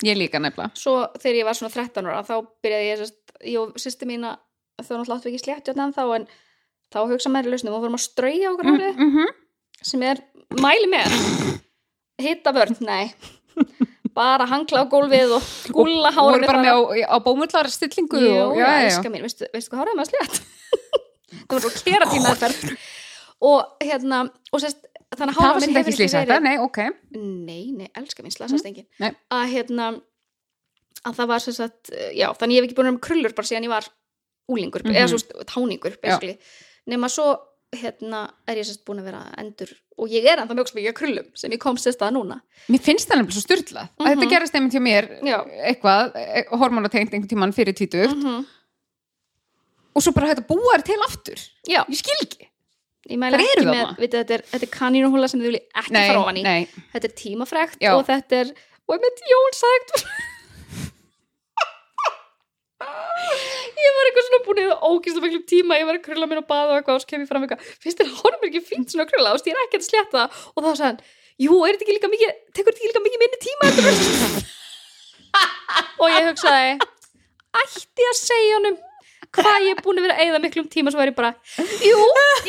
Ég líka nefnilega.
svo þegar ég var svona 13 ára þá byrjaði ég, sérst, ég og sýsti mín að þau náttúrulega áttu ekki slétt en þá en þá hugsa maður í lausnum og vorum að strauja okkur hárið
Mm -hmm.
sem er mæli með hitta vörn, nei bara hangla á gólfið og gúlla hárið
Voru bara með á, á bómullar stillingu.
Jú,
og,
já,
já, já, já.
elskar mín, veistu, veistu hvað hárið maður slétt það var svo keratína þetta og hérna og sérst, þannig að
Það var
hárið
sem ekki slýsa þetta, nei, ok.
nei, nei, elskar mín, slasast engin
Mhm. Nei.
að hérna að það var sem sagt, eh, já, þannig ég hef ekki búin að vera með krullur bara síðan ég var úlingur
Mhm.
eða svo st- táningur, basically nema svo, hérna, er ég sérst búin að vera endur, og ég er ennþá mjög sem ekki að krullum sem ég kom sérst að núna
Mér finnst það nefnilega svo styrlað. Mm
Mhm.
Þetta gerist einmitt hjá mér,
Já.
eitthvað, eh, hormónatengt einhvern tímann fyrir tvítu
-hmm.
og svo bara hægt að búa þér til aftur.
Já,
Ég skil ekki.
ég mæla
Þær
ekki
eru
með
þarna.
veitu, þetta, er, þetta er kanínuhúla sem þið vilji ekki
Nei,
fara ofan í
nei.
þetta er tímafrekt
Já.
og þetta er og ég með Jón sagt ég var eitthvað svona var búin eða ógislega miklum tíma ég var að krulla mér og baða og eitthvað og svo kem ég fram eitthvað finnst þér horfum ekki fínt svona að krulla ást ég er ekkert að sletta það." og þá sagði hann jú, er þetta ekki líka mikið tekur þetta ekki líka mikið minni tíma heldur en- og ég hugsaði ætti ég að segja honum hvað ég er búin að vera að eyða miklum tíma svo var ég bara, jú,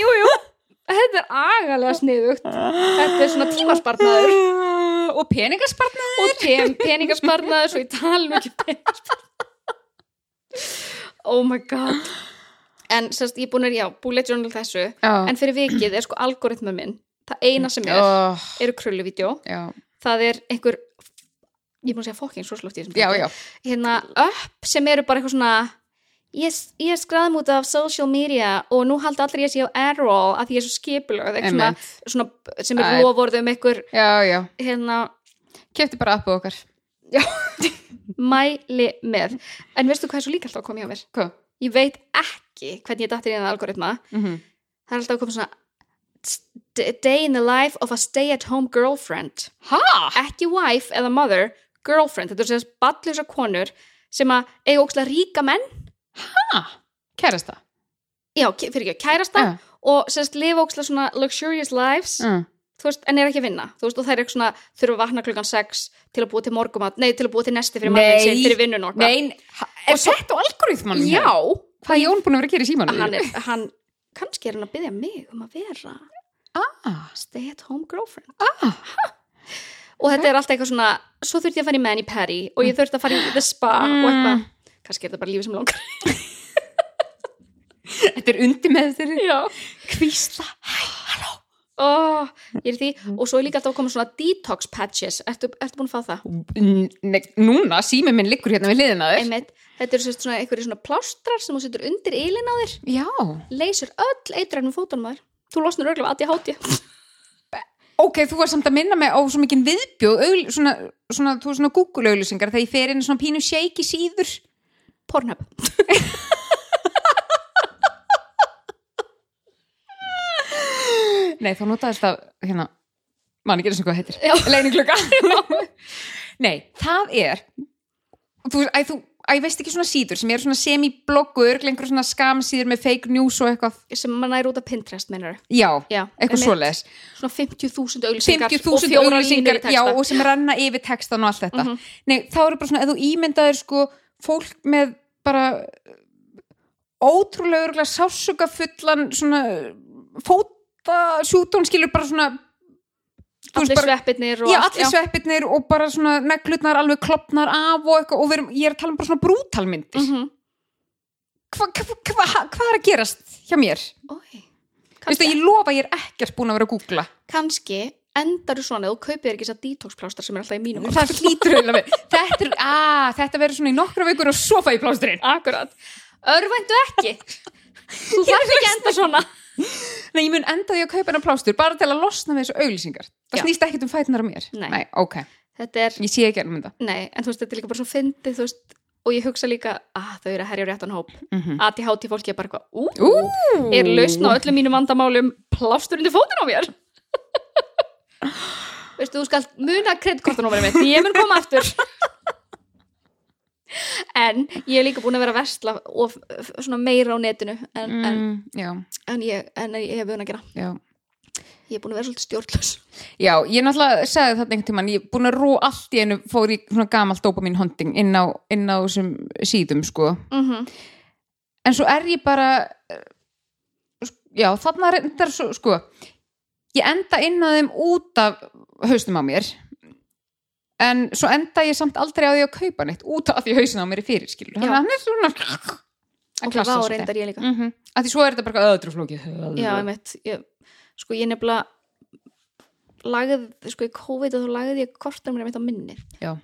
jú, jú þetta er agalega sniðugt þetta er svona tímaspartnaður
og peningaspartnaður
og tem, peningasparnaður svo ég tala nú ekki um peningasparnaður oh my god en sérst ég er búin að já, bullet journal þessu en fyrir vikið er sko algoritma minn það eina sem er,
oh,
eru krulluvídeó
já,
það er einhver ég múið að segja fokking svo slótt í þessum
já,
þætti.
já
hérna upp sem eru bara eitthvað svona ég, ég skraðum út af social media og nú haldi allir ég að sé á Errol að því ég er svo skipulög svona,
Einmitt.
svona, sem er
Æ.
lofórð um einhver
já, já,
hérna
kefti bara appu okkar
mæli með en veistu hvað er svo líka alltaf að koma hjá mér
hvað?
ég veit ekki hvernig ég dattir í það algoritma
Mm -hmm.
það er alltaf að koma svona "S- d- day in the life of a stay at home girlfriend
ha?
ekki wife eða mother girlfriend, þetta er sérst ballusa konur sem að eiga ókslega ríka menn
kærasta
já, k- fyrir ekki, kærasta
Já.
og sérst lifa ókslega svona luxurious lives
Mm.
þú veist, en er ekki að vinna þú veist, og það er eitthvað svona, þurfa að vakna klukkan 6 til að búa til morgumat, nei, til að búa til nesti fyrir
Nei.
mannið sinn, fyrir vinnun og eitthvað.
Nein, er
Og svo-
þetta algoritmanum?
já,
Hvað er Jón búin að vera að gera í símanu?
hann er, hann kannski er hann að byggja mig um að vera
Ah,
stay at home girlfriend og þetta er alltaf eitthvað svona svo þurfti ég að fara í Manny Perry og ég þurfti að fara í The Spa
Mm.
og eitthvað kannski er þetta bara lífið sem langar
þetta er undir með þeirri
já
kvísla
oh, ég er í því og svo er líka alltaf að koma svona detox patches ertu, ertu búin að fá það?
Nei, núna, sími minn liggur hérna við hliðina á þér
Einmitt, þetta eru sem sagt svona einhverju svona plástrar sem þú setur undir ylinn á þér
Já,
leysir öll eitrænum fótunum á þér þú losnar örglega að ég háti
ok, þú var samt að minna mig á svo mikinn viðbjóð augl, svona, svona, þú svona Google-auglýsingar þegar ég fer inn í svona pínu shake í síður
Pornhub
Nei, þá notaðist það, hérna mann ekki eins og hvað heitir
Já.
leininglugga Nei, það er þú, æ, þú, æ, ég veist ekki svona síður sem eru svona semi-bloggur, lengur svona skamsíður með fake news og eitthvað
sem mann er út af Pinterest meinar
Já,
Já,
eitthvað
einmitt.
svoleiðis
svona 50.000 auglýsingar
50.000
og fjórar
auglýsingar,
línur í texta. Mhm.
já, og sem ranna yfir textan og allt þetta Nei, þá eru bara svona, ef þú ímyndaðir sko, fólk með bara ótrúlega örgulega sásuka fullan svona fóta sjúdón skilur bara svona þú veist,
allir
bara-
sveppirnir og
Já,
allt,
allir sveppirnir og bara svona neglutnar alveg klopnar af og eitthvað og við erum, ég er að tala um bara svona brútalmyndir mm
Mhm.
Hvað hva, hva, hva er að gerast hjá mér?
Ói.
Veistu,
kannski,
ég lofa að ég er ekkert búin að vera að googla
kannski endaru svona eða þú kaupir ekki þess að detoxplástar sem er alltaf í mínum
það hlýtur auðvitað við þetta, er, að, þetta verður svona í nokkra vikur og svo fæ ég plásturinn
akkurat, örvæntu ekki þú þarf ekki að enda svona
Nei, ég mun enda því að kaupa hennar plástur bara til að losna við þessu auglýsingar það
Já.
snýst ekkit um fætunar á mér
Nei.
ok,
þetta er,
ég sé ekki ennum þetta
nei, en þú veist þetta er líka bara svo fyndið, þú veist, og ég hugsa líka að þau eru að herja á réttan hóp
mm -hmm.
að ég háti fólki er bara eitthvað, Mhm. ú,
Ú,
er lausn á öllum mínum vandamálum plástur undir fótinn á mér veistu, þú skalt muna kreditkortanúmerið mitt, ég mun koma aftur en ég er líka búin að vera að versla og svona meira á netinu en, en,
mm, já,
en, ég, en ég hef vun að gera
já
ég er búin að vera svolítið stjórnlaus
já, ég náttúrulega sagði þetta einhvern tímann ég er búin að ró allt í einu fór í svona gamalt dopamin hunting inn á, inn á þessum síðum sko
mm
en svo er ég bara eh, sk- já, þarna reyndar svo, sko ég enda inn að þeim út af haustum á mér en svo enda ég samt aldrei á því að kaupa neitt út af því haustum á mér er fyrir skilur
Já.
þannig að hann er svona
og það var reyndar ég líka
mm -hmm. að því svo er þetta bara eitthvað öðru flókið
já, einmitt, ég, sko ég nefnilega lagði, sko í COVID að þú lagði ég kortanúmerið mitt á minni
Já.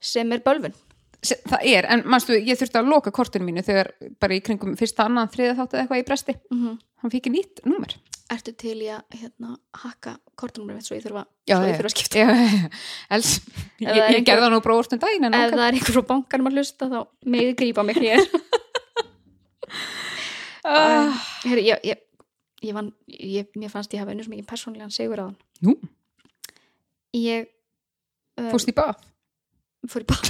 sem er bölvun
Se- það er, en manstu, ég þurfti að loka kortinu mínu þegar bara í kringum fyrsta annan þriða þáttu eða eitthvað í bresti
mm
hann fikk nýtt númer
ertu til í að hérna, hakka kortanúmerið mitt svo ég þurfa,
Já,
svo
já.
ég þurfa að skipta
Já, els, ég,
Ef það er
ég gerði það nú bróðurst um daginn en
ef
ok.
það er einhver frá bankanum að hlusta þá megið grípa mig hér
Ah.
Heru, ég, ég, ég vann, ég, mér fannst ég hafa einu sem ekki persónlegan segur á hann
Nú?
ég um,
fórst í bað
fór í bað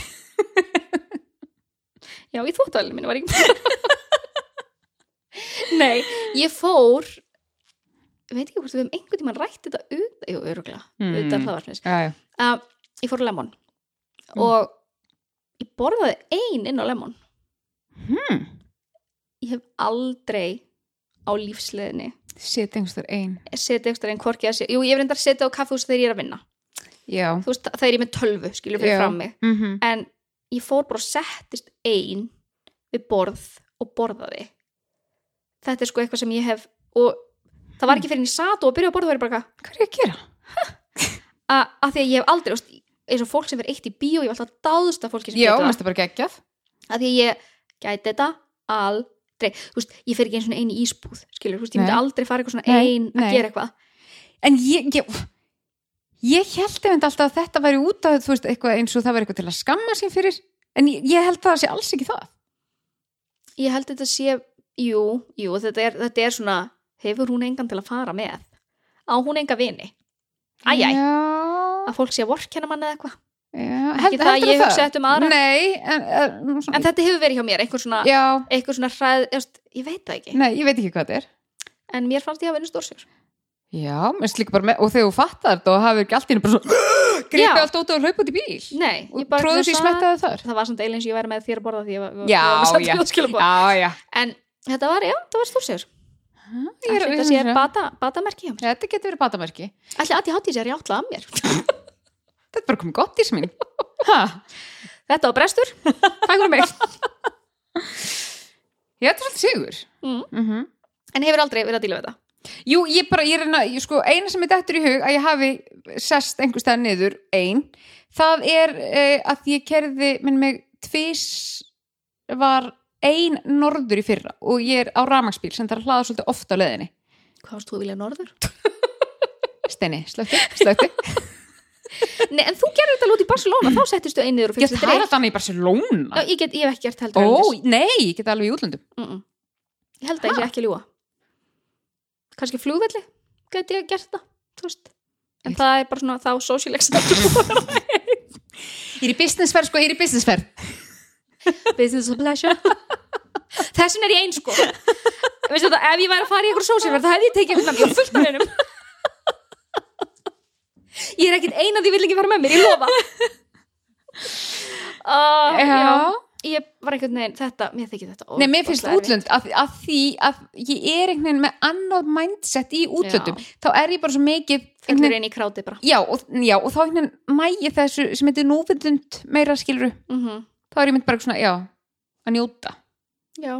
já, í þóttavælinu mínu var ég Nei, ég fór ég veit ekki hvort við hefum einhvern tímann rætt þetta ut, jú, öruglega,
Mm.
utan hlaðvarpnis
já, já.
uh, ég fór á lemon
Mm.
og ég borðaði ein inn á lemon
Hmm.
ég hef aldrei á lífsleðinni
Sitt einhverstur ein
setið ekstra einn hvorki að sé jú, ég hef reyndar að setja á kaffehús þegar ég er að vinna
Já,
þú veist, það er ég með tölvu, skilur fyrir
Já.
fram mig
mm
en ég fór bara og settist ein við borð og borðaði þetta er sko eitthvað sem ég hef og það var ekki fyrir en ég sat og byrjaði að borða og er bara eitthvað,
hvað er ég að gera?
að að því að ég hef aldrei þú veist, eins og fólk sem verið eitt í bíó ég hef alltaf dáðust að fólki sem
Já,
getur það
mest er bara geggjað
að því að ég gæti þetta aldrei þú veist, ég fer ekki einu svona einu ísbúð skilur, þú veist, ég myndi
Nei.
aldrei fara eitthvað svona
Nei,
ein
nei.
að gera eitthvað
En ég, ég, ég held einmitt alltaf að þetta væri út af þú veist, eitthvað eins og það væri eitthvað til að skamma sín fyrir en ég, ég held að það sé alls ekki það
ég held þetta sé, jú, jú þetta er, þetta er svona, hefur hún engan til að fara með á hún enga vini æjæ,
Já,
að fólk sé að vorkenna mann eða eitthvað
já.
ekki það að ég hugsa þetta um aðra
Nei, en, en, svona,
en þetta hefur verið hjá mér, einhver svona
Já,
einhver svona hræð, ég, veist, ég veit það ekki
nei, ég veit ekki hvað þetta er
en mér fannst ég að vinna stórsigur
Já, mér finnst líka bara með, og þegar þú fattar þetta og hafið ekki allt í henni bara svona
Já.
greipi allt út og hlaupa út í bíl
Nei, ég
og
bara
tróðu sér í
hugsa-
smettaði þar
það var samt eiginlega eins og ég væri með þér að borða því ég var,
Já, já.
ég var já.
Já, já
en þetta var, já, það var stórsigur
Ég er- um
þetta sé bata, batamerki hjá mér
Þetta getur verið batamerki
Ætli að ég hátíð sér játla að mér
Þetta er bara komið gott í sem mín Ha,
Þetta var brestur, takk fyrir mig
Ég þetta er svolítið sigur
Mm.
-hmm.
En hefur aldrei verið að díla við þetta
Jú, ég bara, ég reyna, ég, sko, eina sem er dettur í hug að ég hafi sest einhvers staðar niður ein, það er eh, að ég kerði, minn mig, tvís var ein norður í fyrra og ég er á ramagsbíl sem þarf að hlaða svolítið ofta á leðinni.
Hvað varst þú að vilja norður?
Steini, slökti, slökti.
Nei, en þú gerður þetta lút í Barcelona, þá settistu einniður og
ég
fyrst
það er alltaf hann í Barcelona.
Já, ég, get, ég hef ekki gert heldur
Ó,
erlendis.
nei, ég geta alveg í útlöndum.
mm -mm. Ég held að ég sé ekki að ljúa Kanski flugvelli gæti ég gert þetta, þú veist En
Ég-
það er bara svona þá social acceptable
Ég er í businessferð, sko, ég er í businessferð.
Business of pleasure Þessin er ég eins sko Veistu þetta, ef ég væri að fara í eitthvað sósíverð það hefði ég tekið hérna mjög fullt með hennum Ég er ekkit eina því vil ekki fara með mér, ég lofa uh, já. Ég var einhvern veginn, þetta, mér þykir þetta
Nei, mér finnst
ofboðslega erfitt.
útlönd að, að því að ég er einhvern veginn með annað mindset í útlöndum
Já.
þá er ég bara svo mikið einhvern
Fellur
veginn-
inn í kráti bara
já, og, já, og þá einhvern veginn mægi þessu sem heitir núvindund meira skiluru
mm
þá er ég mynd bara svona, já, að njóta
Já,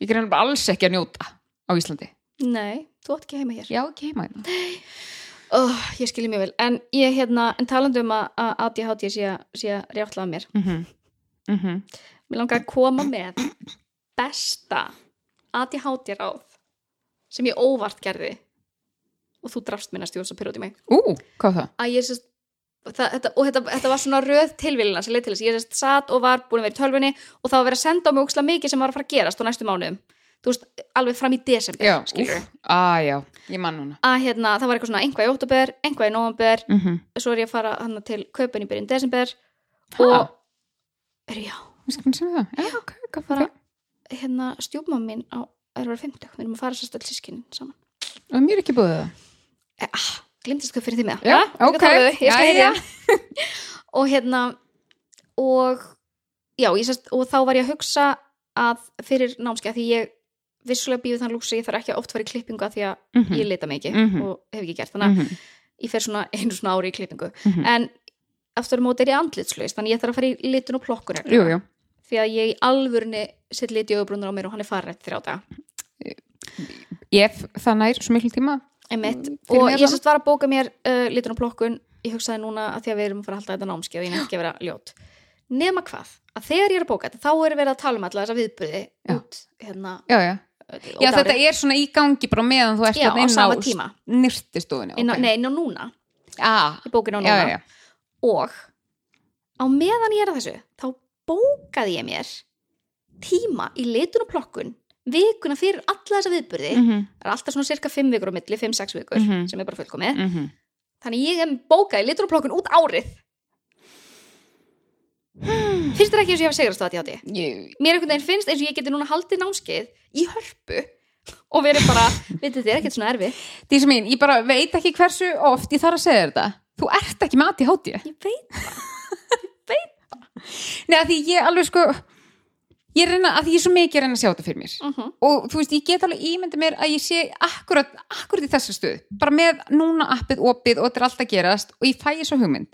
ég er nefnilega alls ekki að njóta á Íslandi
nei, þú átt ekki heima hér
Já, ekki heima hérna
oh, Ég skilji mjög vel, en ég hérna en talandi um að að ADHD sé, að- sé að rjáttla að mér
mm -hmm. Mm
Mhm.
-hmm.
Mér langar að koma með besta ADHD ráð sem ég óvart gerði og þú drafst minna stjórnsa pyrir út í mig
Ú, hvað var það?
að ég sérst Það, þetta, og þetta, þetta var svona röð tilvílina sem leið til þess, ég sérst satt og var búin að vera í tölvunni og það var verið að senda á mig úksla mikið sem var að fara að gerast á næstu mánuðum, þú veist, alveg fram í desember,
Já,
skilurðu.
úff, á, já, ég man núna
að hérna, það var eitthvað svona einhvað í óttúber, einhvað í nóvamber
mm
svo er ég að fara hann til köpun í byrjun desember
Ha?
og er já,
það? Já, ok, hvað var
Bara-
það?
hérna stjúpmann minn á er að vera 50, við erum að fara sérst öll sískinin saman
Og mér er ekki búið það
eh, ah, glimtist hvað fyrir því með
Já,
það
ok,
ég skal
jæja.
heyra og hérna og já, ég sérst, og þá var ég að hugsa að fyrir námskeið, af því ég vissulega býðu þann lúksa, ég þarf ekki að oft fara í klippingu af því að
mm -hmm.
ég lita mikið
Mhm.
og hef ekki gert, þannig að ég fer svona einu svona ári í klippingu
Mhm.
en aftur á móti er ég andlitslaus þannig ég þarf að fara í litun og plokkun
Jú, jú,
því að ég í alvörni sitt lit í auðbrunnar á mér og hann er farin eftir þrjá daga
ef það nær svo miklu tíma
Einmitt.
Mm, fyrir
og
mér
ég
það.
sérst var að bóka mér uh, litun og plokkun ég hugsaði núna að því að við erum að fara alltaf þetta námskeið og ég nefn ekki að vera ljót nema hvað, að þegar ég er að bóka þetta þá er verið að tala um alla þessa viðbyrði
Já.
út hérna
Já, já
öll-
Já,
út
þetta
árið.
er svona í gangi bara meðan þú ert
Já,
þarna
á
inn
sama tíma
nýrtistofunni.
inn á, nei, inn á núna,
ah,
ég bókin á
já,
núna
já, já.
og á meðan ég er að þessu þá bókaði ég mér tíma í litun og plokkun vikuna fyrir alla þessa viðburði
Mm -hmm,
það er alltaf svona cirka 5 vikur á milli, 5-6 vikur
Mhm.
sem er bara fullkomið,
mm -hmm.
þannig ég hef bókaði litun og plokkun út árið finnst þér ekki eins og ég hafi segrast á ADHD
Ég,
mér einhvern veginn finnst eins og ég geti núna haldið námskeið í hörpu og verið bara, vitið þið er ekkert svona erfi
Dísa mín, ég bara veit ekki hversu oft ég þarf að segja þér þetta. Þú ert ekki með ADHD.
ég veit,
Nei, að því ég alveg sko, ég reyna, að því ég er svo mikið að reyna að sjá þetta fyrir mér.
uh -huh.
Og þú veist, ég get alveg ímyndið mér að ég sé akkurat, akkurat í þessa stöð. Bara með núna appið opið og þetta er allt að gerast og ég fæ ég svo hugmynd.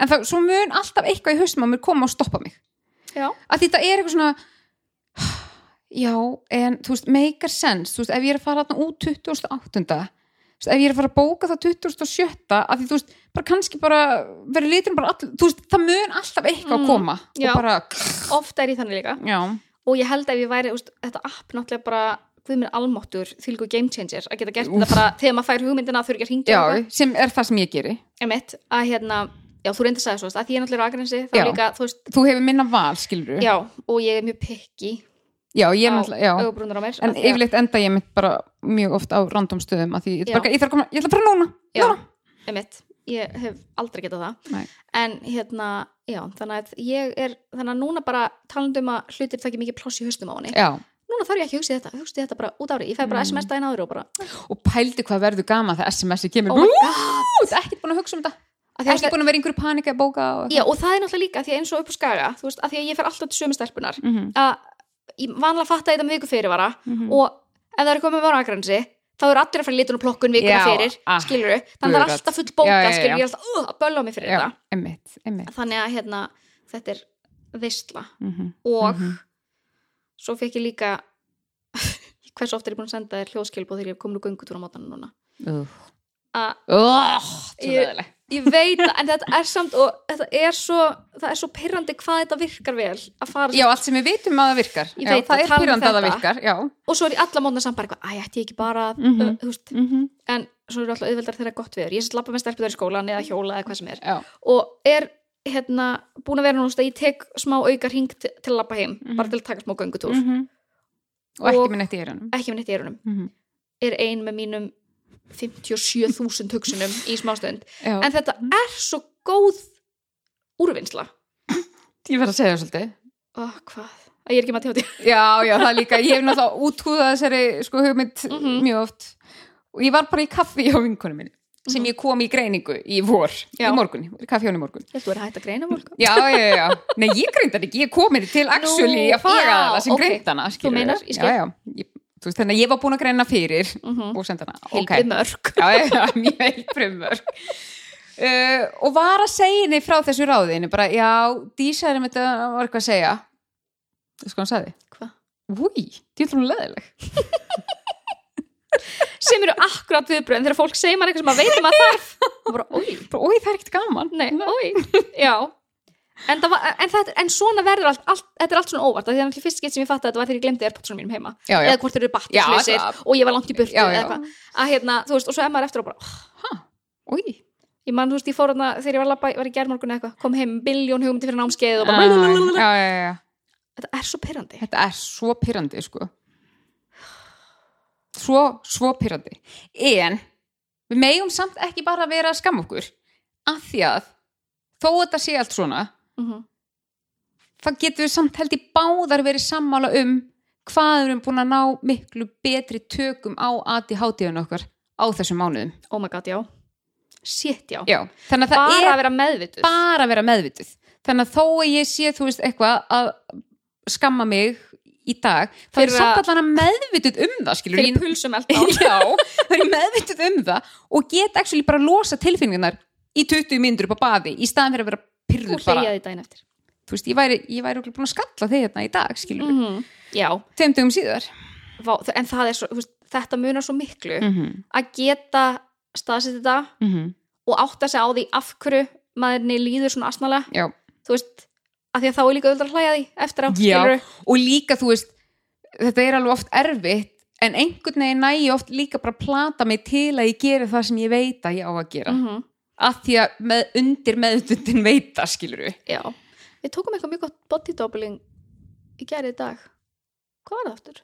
En þá, svo mun alltaf eitthvað í haustum á mér koma og stoppa mig.
já,
að þetta er eitthvað svona já, en þú veist, make a sense þú veist, ef ég er að fara þarna út 2008 þú veist, ef ég er að fara að bóka það 2007 að því, þú veist, bara kannski bara verður liturinn bara all, þú veist, það mun alltaf eitthvað
Mm,
að koma
já.
og bara,
oft er ég þannig líka
já,
og ég held ef ég væri, úst, þetta app náttúrulega bara hvað mér almáttur, þvílgu game changer að geta gert
Úff.
þetta bara þegar maður fær hugmyndina þurfi ekki að hringja
já,
og eitthvað.
sem er það sem ég geri
Einmitt, að hérna, já þú reyndi að sagði svo veist, að því ég er náttúrulega agrensi, þá
Já.
líka þú veist,
þú hefur minna val, skilur
já, og ég er mjög pekki
já ég er
á
náttúrulega, já
augabrúnar á mér
en
af því að-
yfirleitt enda ég mitt bara mjög oft á random stöðum að því, ég,
Já.
bara, ég þarf að koma, ég ætla bara núna
já,
núna.
einmitt, ég hef aldrei getað það
Nei.
en hérna, já, þannig að ég er þannig að núna bara talandi um að hlutir takki mikið pláss í haustum á henni
já,
núna þarf ég ekki að hugsa í þetta, hugsa í þetta bara út ári ég fæ bara
Mm.
sms daginn áður og bara
og pældi hvað verður gaman þegar SMS-i kemur
oh my god,
Þú ert ekkert búin að hugsa um þetta
Af því að
Ekki búin að vera einhverju panika að bóka og...
Já, og það er náttúrulega líka, því að eins og upp á skaga, þú veist, að því að ég fer alltaf til sömu stelpunar,
mm -hmm.
að ég vanlega fatta þetta með viku fyrirvara
mhm.
og ef það er komið með áragrænsi, þá eru allir að fara í litun og plokkun vikuna
Já,
fyrir,
ah,
skilur þannig að það er
guðrætt.
alltaf full bóka,
Já, já, já,
skilur, ég er
já.
alltaf uh, að bölla á mig fyrir
Já,
þetta.
emmitt, emmitt
Þannig að, hérna, þetta er veistla
mm -hmm.
og
Mhm.
svo fekk ég líka, hversu oft er ég búin að senda þér hljóðskilbóð þegar ég er komin úr göngutúr á mótana núna? Að Ég-
oh,
ég veit það, en þetta er samt og þetta er svo, það er svo pyrrandi hvað þetta virkar vel að fara
Já, allt sem við vitum að það virkar
Ég
já,
veit
Það
það,
er
tala um
pyrrandi að það
þetta.
virkar já.
og svo er ég alla mótna samt bara eitthvað, æ, ætti ég ekki bara að,
Mhm.
uh, þú veist,
Mm -hmm.
en svo eru alltaf auðveldar þegar gott viður, ég slappa með stelpunar í skólan eða hjóla eða hvað sem er,
já.
og er hérna, búin að vera núst að ég tek smá aukar hing til, til að lappa heim
Mhm.
bara til að taka smá göngutúr,
Mm Og ekki
Og- Mhm.
minn eitt í eyrunum
ekki með nýtt í erunum
mm -hmm.
er ein með mínum 57.000 hugsunum í smástund, en
en...
þetta er svo góð úrvinnsla
Ég verð að segja það svolítið
oh, hvað, að ég er ekki með tjóti
Já, já, það er líka, ég hef náttúrulega útkúðað þessari sko hugmynd
Mhm.
mjög oft og ég var bara í kaffi hjá vinkunum minni sem ég kom í greiningu í vor
Mhm. Já.
í morgun, kaffi hjá henni í morgun
ég ætti að vera hægt að greina fólk
já, já, já, já, nei, ég greind hann ekki ég kom henni til actually
Nú,
að faga
já,
hana sem
ok.
okay. greind hana skilurðu.
meinar, ég skil.
já, já, ég, þú veist þannig að ég var búin að greina fyrir
Mhm.
og senda hana, ok
Hildi mörg
já, já, já, mjög heilbrumör uh, og var að segja henni frá þessu ráðinu, bara já Dísa er með þetta, var eitthvað að segja þú veist hvað hann sagði,
Hva?
úi, því er hún leðileg
sem eru akkurat viðbröðin þegar fólk segir maður eitthvað sem maður veit um að maður þarf og bara, oi,
úi, það er ekkert gaman
nei, oi já, en, það var, en, þetta, en svona verður allt, allt þetta er allt svona óvart af því að náttúrulega fyrst skeitt sem ég fatt að þetta var þegar ég glemdi airpodsum mínum heima
já, já,
eða hvort þeir eru
Já,
battisleysir
það-
og ég var langt í burtu
Já,
eða
já.
eitthvað. að hérna, þú veist, og svo er maður eftir og bara oh,
úi
ég man, þú veist, ég fór hérna þegar ég var labba, ég var í gerðmorgun eitthvað kom heim með biljón hugmyndi fyrir námskeið og bara
já, já, já, já
þetta er svo perrandi
Ah. Þetta er svo pyrrandi, sko. Svo, svo pyrrandi. En við megum samt ekki bara vera að skamma okkur af því að þó að þetta sé allt svona,
Mhm.
þá getum við samt held í báðar verið sammála um hvað við erum búin að ná miklu betri tökum á ADHD-un okkar á þessum mánuðum.
oh my god, já, shit, já,
Já, þannig að það
bara
er
að vera meðvituð
bara að vera meðvituð þannig að þó að ég sé, þú veist, eitthvað að skamma mig í dag þá er
Fyrir
samt
að-
allan að meðvituð um það skilur
fyrir
ég
pulsum alltaf
Já, það er ég meðvituð um það og get actually bara að losa tilfinningarnar í 20 myndur upp á baði í staðan fyrir að vera
og
pyrrður bara
hlýjaði daginn eftir
þú veist, ég væri, ég væri örugglega búin að skalla þig hérna í dag skilur, mm.
-hmm. já,
tveim dögum síðar
Vá, þ- en það er svo, þú veist, þetta munar svo miklu
mm -hmm.
að geta staðsett þetta og átta sig á því af hverju maðurni líður svona asnalega,
Já,
þú veist að því að þá er líka auðvitað að hlæja því eftir á
Já.
skilurðu.
og líka þú veist þetta er alveg oft erfitt en einhvern veginn næ ég oft líka bara að plata mig til að ég geri það sem ég veit að ég á að gera
Mhm,
að því að með, undir meðutundin veita skilur við
já við tókum eitthvað mjög gott body doubling í gerði í dag hvað var það aftur?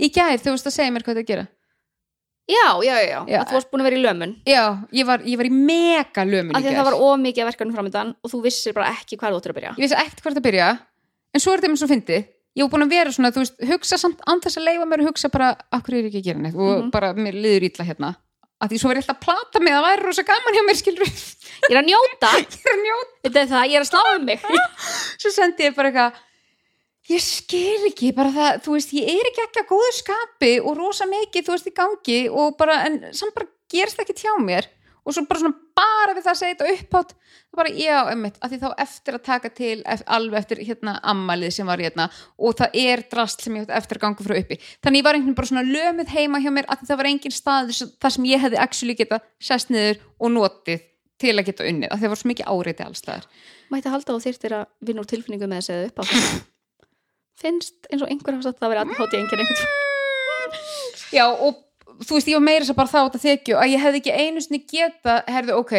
í gær þú veist að segja mér hvað það gera
já, já, já, já,
Já.
að þú varst búin að vera í lömun
já, ég var, ég var í mega lömun
af
í
því að
gær.
það var ómikið verkefni framöndan og þú vissir bara ekki hvað þú ættir að byrja
ég vissi ekkert hvert að byrja en svo er þetta eins og fyndi ég var búin að vera svona, þú veist, hugsa samt án þess að leifa mér að hugsa bara, akkur er ég ekki að gera neitt og
Mhm.
bara, mér liður ítla hérna að því svo var ég alltaf að plata mig, það væri rosa gaman hjá mér skilur við,
ég er að njóta,
ég er að njóta
þetta er það, ég er að slá um mig
svo sendi ég bara eitthvað ég skil ekki, bara það, þú veist ég er ekki ekki að góðu skapi og rosa mikið, þú veist, í gangi og bara, en samt bara gerst ekki hjá mér og svo bara svona bara við það að segja þetta upphátt þá bara, já, einmitt, að því þá eftir að taka til ef, alveg eftir hérna ammalið sem var hérna og það er drast sem ég átti eftir að ganga frá uppi þannig ég var einhvern veginn bara svona lömuð heima hjá mér að það var engin stað þess- þar sem ég hefði actually geta sest niður og notið til að geta unnið, að það var svo mikið áreiti allstaðar
mætti halda og þyrtir að vinna úr tilfinningu með þess að upp á finnst eins og einhver hafa sagt það verið að hátíð einhvern einhvern tímann.
Já, og þú veist, ég var meira þess að bara þá að það þekju að ég hefði ekki einu sinni geta, herðu, ok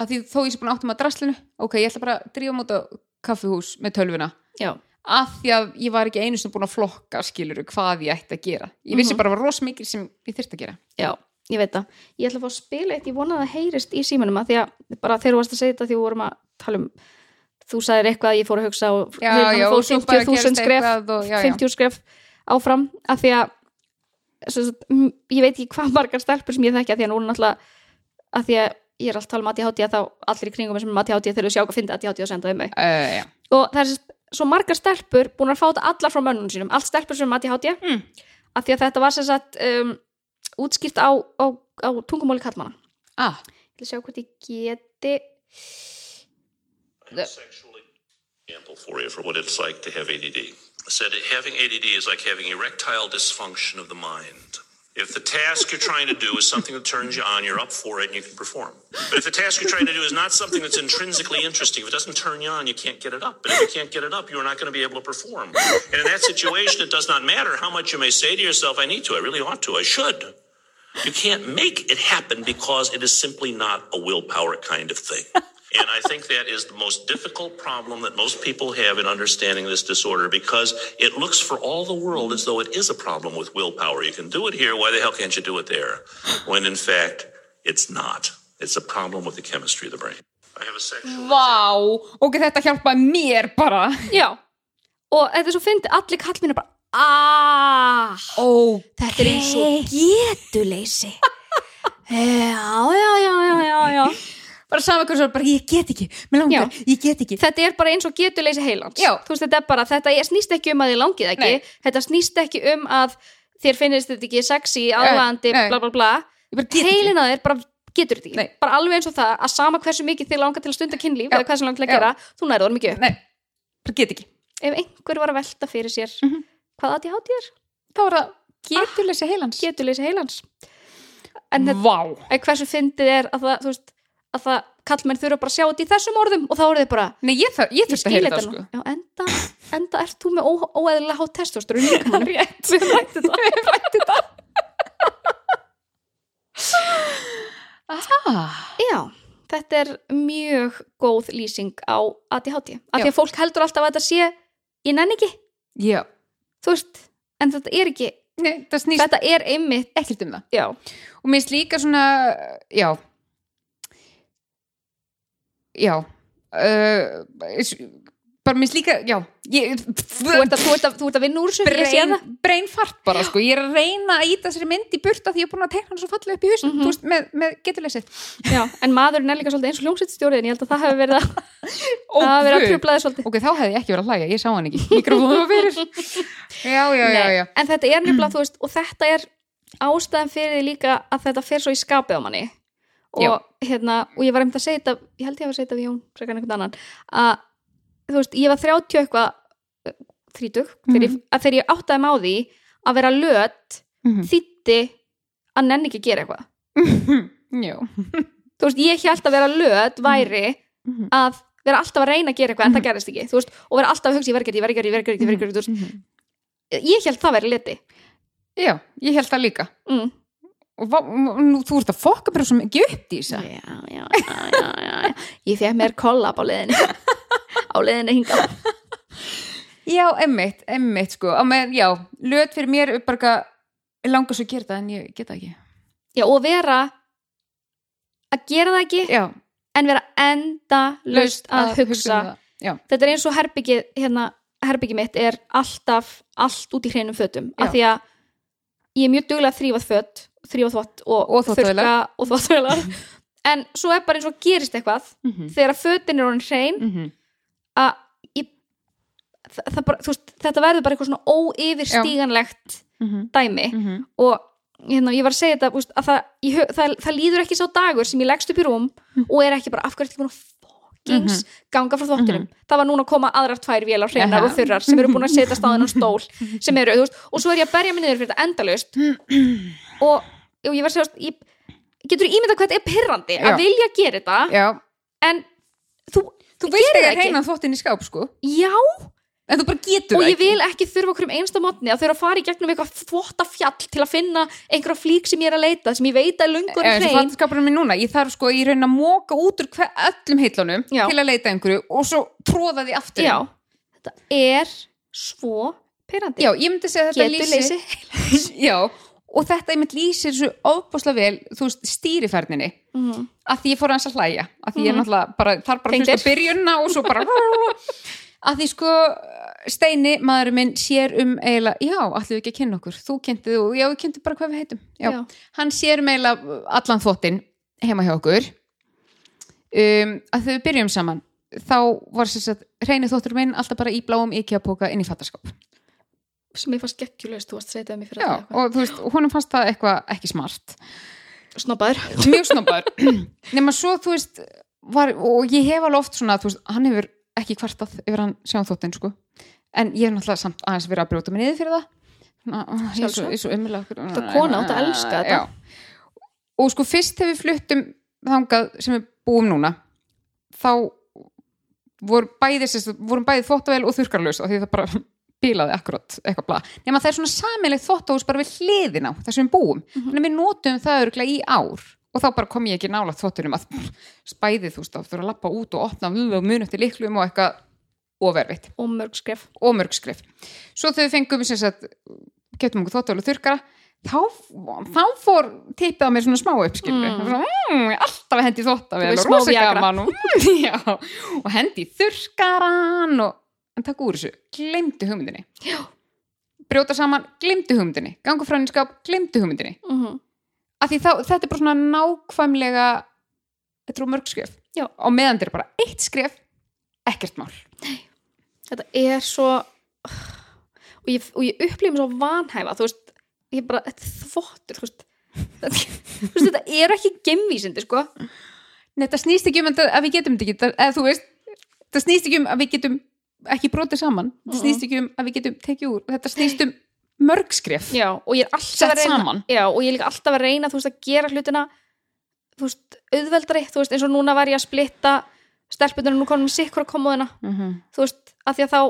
að því þó ég sé búin áttum að draslinu ok, ég ætla bara að drífa múta kaffihús með tölvuna,
já,
af því að ég var ekki einu sinni búin að flokka, skilur hvað ég ætti að gera, ég vissi
Mhm.
bara að var rosa mikil sem ég þyrfti að gera
já, ég veit það ég ætla að fá að spila eitt, ég vona að það heyrist í símanum að því að bara þegar þú varst að segja þetta því við vorum að tala um þú sagðir eitthvað að ég fór að hugsa og
Já,
Vilhjálmur
já,
fór
og svo bara
50.000
gerist
skref
eitthvað og- já, já.
50 skref áfram að því að svo, svo, m- ég veit ekki hvað margar stelpur sem ég þekki að því að núna náttúrulega að því að ég er alltaf að tala um að ég hátíð að þá allir í kringum er sem að ég hátíð þegar þau sjá hvað fyndi að ég hátíð að senda um mig
uh, já.
og það er sem- svo margar stelpur búin að fá þetta allar frá mönnum sínum, allt stelpur sem mati hátja
Mm.
af því að þetta var sem sagt um, útskýrt á, á, á tungumáli kallmanna
Ah,
ég ætla að sjá hvort ég geti
The-
sexually example for you for what it's like to have ADD. I said that having ADD is like having erectile dysfunction of the mind. If the task you're trying to do is something that turns you on, you're up for it and you can perform. But if the task you're trying to do is not something that's intrinsically interesting, if it doesn't turn you on, you can't get it up. And if you can't get it up, you're not going to be able to perform. And in that situation, it does not matter how much you may say to yourself, I need to, I really ought to, I should. You can't make it happen because it is simply not a willpower kind of thing. And I think that is the most difficult problem that most people have in understanding this disorder because it looks for all the world as though it is a problem with willpower. You can do it here, why the hell can't you do it there? When in fact, it's not. It's a problem with the chemistry of the brain. I have a sexual.
vá, ok, þetta hjálpaði mér bara
já, og þetta er svo fyndi allir kallminn er bara aaaah,
oh,
þetta er eins og getuleysi já, já, já, já, já, já
Bara sama hversu, bara ég get ekki, mér langar,
Já.
ég get ekki
þetta er bara eins og getuleysi heilans
Já.
þú veist þetta er bara, þetta er- snýst ekki um að þið langið ekki
Nei.
þetta snýst ekki um að þér finnist þetta ekki sexy, aðlandi,
nei.
bla bla bla
Ég bara get ekki
heilin að þér bara getur þetta ekki
Nei.
bara alveg eins og það að sama hversu mikið þið langar til að stunda kynlíf
Já.
eða hvað sem langar til að
Já.
gera, þú nærður það mikið upp
Nei, bara get ekki
ef einhver var að velta fyrir sér
Mhm.
hvað að ég hát ég er,
Þá er það getuleysi heilans
getuleysi heilans en þetta,
Vá
en hversu fyndið er að það, þú veist, að það kallmenn þurfa bara að sjá þetta í þessum orðum og þá eru þið bara
Nei, ég, þar, ég
ég
þurfti að
skil
heyra
þetta
það
nú
sko.
já, enda, enda ert þú með ó, óeðlilega hátt testosteron í líkamanum. við höfum rætt þetta
Ah,
já, þetta er mjög góð lýsing á ADHD af
Já.
því að fólk heldur alltaf að þetta sé ég nenni ekki,
já.
þú veist en þetta er ekki,
Nei, það snýst
þetta er einmitt
ekkert um það.
já,
Og mér finnst líka svona, já, já, uh, bara mér finnst líka, já, ég,
þú ert að, þú ert að, þú ert að vinna úr þessu ég sé
brain,
það
brain fart bara, sko. Ég er að reyna að íta þessari mynd í burta því ég er búin að tekna hann svo fallega upp í hausnum,
Mhm.
þú veist, með, með geturleysið.
já, en maðurinn er líka svolítið eins og hljómsveitstjóriðin ég held að það hefur verið að,
Ó,
að, vera að
guð.
trubla þið svolítið
Ok, þá hefði ég ekki verið að hlæja, ég sá hann ekki. Mikrofónu fyrir. Já, já, já,
Nei,
já.
en þetta er nefnilega, þú veist, og þetta er ástæðan fyrir því líka að þetta fer svo í skapið á manni og,
Já.
hérna, og ég var einmitt að segja þetta ég held ég hafa að segja þetta við Jón, frekar en einhvern annan að, þú veist, ég var 30 eitthvað þrítug, þegar, ég, að þegar ég áttaði mig á því að vera löt
Mhm.
þýtti að nenni ekki að gera eitthvað
Já.
þú veist, ég held að vera löt væri
Mhm.
að vera alltaf að reyna að gera eitthvað en það gerist ekki, þú veist, og vera alltaf að hugsa ég verið ekki, ég verið ekki, ég verið ekki, ég verið ekki, þú veist ég held það væri leti
Já, ég held það líka.
mm.
og vá, nú, þú ert að fokka bara svo mikið upp í þessu
já, já, já, já, já, já. ég fekk mér kollab á leiðinni á leiðinni hingað
já, emmitt, emmitt sko Á meðan- já, löt fyrir mér er bara eitthvað, ég langar svo að gera það en ég geta ekki
já, og vera að gera það ekki
já,
en vera enda laust að, hugsa
um það. já,
þetta er eins og herbyggið hérna, herbyggið mitt er alltaf allt út í hreinum fötum
Já.
af því að ég er mjög duglega að þrýfað föt þrýfað þvott og,
Og þvottavélar.
þurrka og þvottavélar en svo er bara eins og gerist eitthvað
mm -hmm.
þegar að fötin er orðin hrein
Mhm.
að ég, það, það bara, þú veist, þetta verður bara eitthvað svona óyfirstíganlegt dæmi
Mm. Mhm.
og hérna, ég var að segja þetta úst, að það, ég, hö- það, það líður ekki sá dagur sem ég leggst upp í rúm
Mm.
og er ekki bara af hverju ertu ekki búin að fuckings
Mhm.
ganga frá þvottinum það var núna að koma aðrar tvær vélar hreinar
Jaha.
og þurrar sem eru búin að setja staðin á stól
Mhm.
sem eru, þú veist, og svo er ég að berja minni niður fyrir þetta endalaust og, og ég var að segja, þú veist, ég, getur þú ímyndað hvað þetta er pirrandi
Já.
að vilja gera þetta
já,
en þú,
þú veist
gerir
ekki
það
að reyna þvottin í skáp sko
já,
en þú bara getur
og
það
ég vil ekki þurfa okkur um einsta mótni að þurfa að fara í gegnum eitthvað þvota fjall til að finna einhverja flík sem ég er að leita sem ég veit að lungur
Já, eins og
hrein
fatskapurinn minn núna, ég þarf sko í raun að móka út úr hver, öllum heitlunum
Já.
til að leita einhverju og svo tróða því aftur
já, þetta er svo perandi
Já, ég myndi segja að þetta
getur
lýsi
leysi
Já, og þetta einmitt lýsir svo ofbúslega vel, þú veist, stýrifærninni
Mhm.
að því ég fór hans að hlæja að því ég
Mhm.
náttúrulega bara, þarf bara að
Tengdir.
hlusta á byrjunna og svo bara að því sko Steini, maðurinn minn, sér um eiginlega, já, allir við ekki að kynna okkur þú kynntið og já, við kynntum bara hvað við heitum já.
Já.
hann sér um eiginlega allan þvottin heima hjá okkur um, að þau byrjum saman þá var sér satt reyni þvottur minn alltaf bara í bláum IKEA-póka inn í fattaskáp
sem ég fannst geggjulegst, þú varst að segja þetta við mig fyrir
Já,
að
og þú veist, honum fannst það eitthvað ekki smart
og snobbaður
mjög snobbar nema svo, þú veist, var, og ég hef alveg oft svona, þú veist, hann hefur ekki kvartað yfir hann sjáum þóttin, sko en ég hef náttúrulega samt aðeins verið að brjóta mig niður fyrir það Ná, ó, ég er svo,
Sjálfsagt.
ég er svo umjulega okkur
Þetta kona, átti að elska þetta.
Já. og sko, fyrst þegar við fluttum þangað sem við búum núna þá voru bæði, sérst, vorum bæði þvóttavél og þurkarlaus og því það bara bílaði akkurat eitthvað blá, nema það er svona samilegt þvottahús bara við hliðin á þessum við búum
Mhm.
þannig að við notum það örgulega í ár og þá bara kom ég ekki nála þvottunum að spæði þú veist, þá þurfa að lappa út og opna vöð og mun eftir liklum og eitthvað ofervitt
og mörg skref
og mörg skrif svo þegar við fengum sem sagt, getum okkur þóttuvel og þurkara þá, þá fór tippið á mér svona smá uppskilu
Mm.
mm. mm, alltaf hendi þóttavel
Þú veist,
og
smá
rosa
Viagra.
gaman og, mm, já, og hendi í þurkaran og, en takk úr þessu, glemdu hugmyndinni já. brjóta saman, glemdu hugmyndinni gangu fræninskap, glemdu hugmyndinni
mm -hmm.
af því þá, þetta er bara svona nákvæmlega þetta eru mörg skrif
Já.
og meðan þetta er bara eitt skrif ekkert mál
þetta er svo og ég, og ég upplýðum svo vanhæfa þú veist, ég bara, þetta er þvottur þú veist, þetta, þú veist, þetta er ekki gemvísindi, sko
Nei, það snýst ekki um að, að við getum þetta ekki það- eða þú veist, það snýst ekki um að við getum ekki brotið saman það snýst ekki um að við getum tekið úr þetta snýst um mörgskref
já, og ég er alltaf
sett
að reyna
saman
já, og ég er líka alltaf að reyna, þú veist, að gera hlutina þú veist, auðveldari þú veist, eins og núna var ég að splitta stelpunar og nú konum sikkur að komoðina
mm -hmm.
þú veist, að því að þá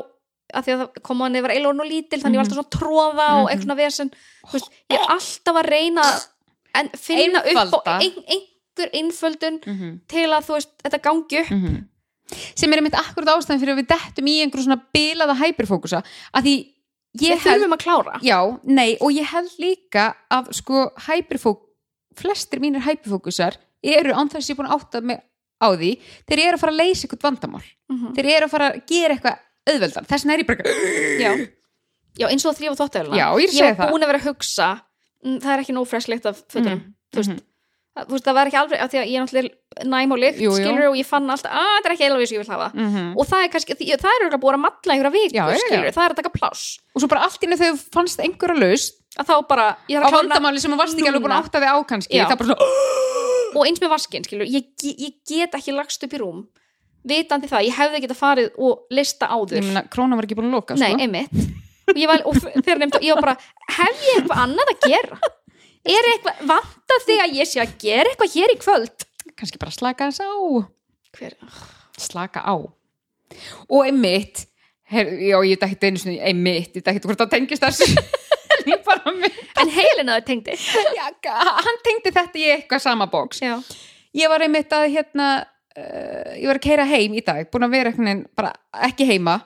að því að komoðinni var eilorn og lítil þannig ég var alltaf
Mhm.
svona að tróða og eitthvað svona vesen þú veist, ég er alltaf að reyna að en finna upp á
Einfalda.
ein, einhver einföldun til að þú veist, þetta gangi
Mhm.
upp
sem er einmitt akkurat ástæðan fyrir að við dettum í einhverju svona bilaða hyperfókusa að því ég
við þurfum um að klára
Já, nei, og ég held líka að sko hyperfók, flestir mínir hyperfókusar eru án þess að ég er búin að átta mig á því, þeir eru að fara að leysa eitthvað vandamál,
Mhm.
þeir eru að fara að gera eitthvað auðveldan, þess vegna er ég bara eitthvað-
já. já, eins og að þrýfa þvóttavelina
Já, ég er að segja
ég var
það.
búin að vera að hugsa mm, það er ekki nóg freskleikt af fötunum
Mhm.
þú veist, að, þú veist, það var ekki alveg af því að ég er náttúrulega næm og lykt,
Jú, jú.
skilur og ég fann alltaf, að þetta er ekki eilveg sem ég vil hafa
Mhm.
og það er kannski, því- það er örugglega búin að matla einhverja
Já, já,
vikur,
já.
skilur, það er að taka pláss
og svo bara allt innu þegar þú fannst einhverja laust
að þá bara, ég
á
þarf að klára
vandamáli sem þú varst ekki alveg búin að
núna.
átta þig á kannski,
Já.
það er bara svona
og eins með vaskinn, skilur, ég, ge- ég get ekki lagst upp í rúm, vitandi það ég hefði getað farið og lista áður
ég meina, krónan var ekki búin að loka
Nei,
sko.
einmitt og ég var, og þegar nefndi, ég var bara hef ég eitthvað annað að gera er eitthvað, vantar þig að ég sé að gera eitthvað hér í kvöld
kannski bara slaka þess á
Hver,
slaka á og einmitt her, já, ég veit ekki einu sinni, einmitt ég veit ekki hvort það tengist þessu en ég bara mynd,
en heilin að þau tengdi
já, hann tengdi þetta í eitthvað sama bóks
já,
ég var einmitt að hérna uh, ég var að keira heim í dag, búin að vera einhvern veginn bara ekki heima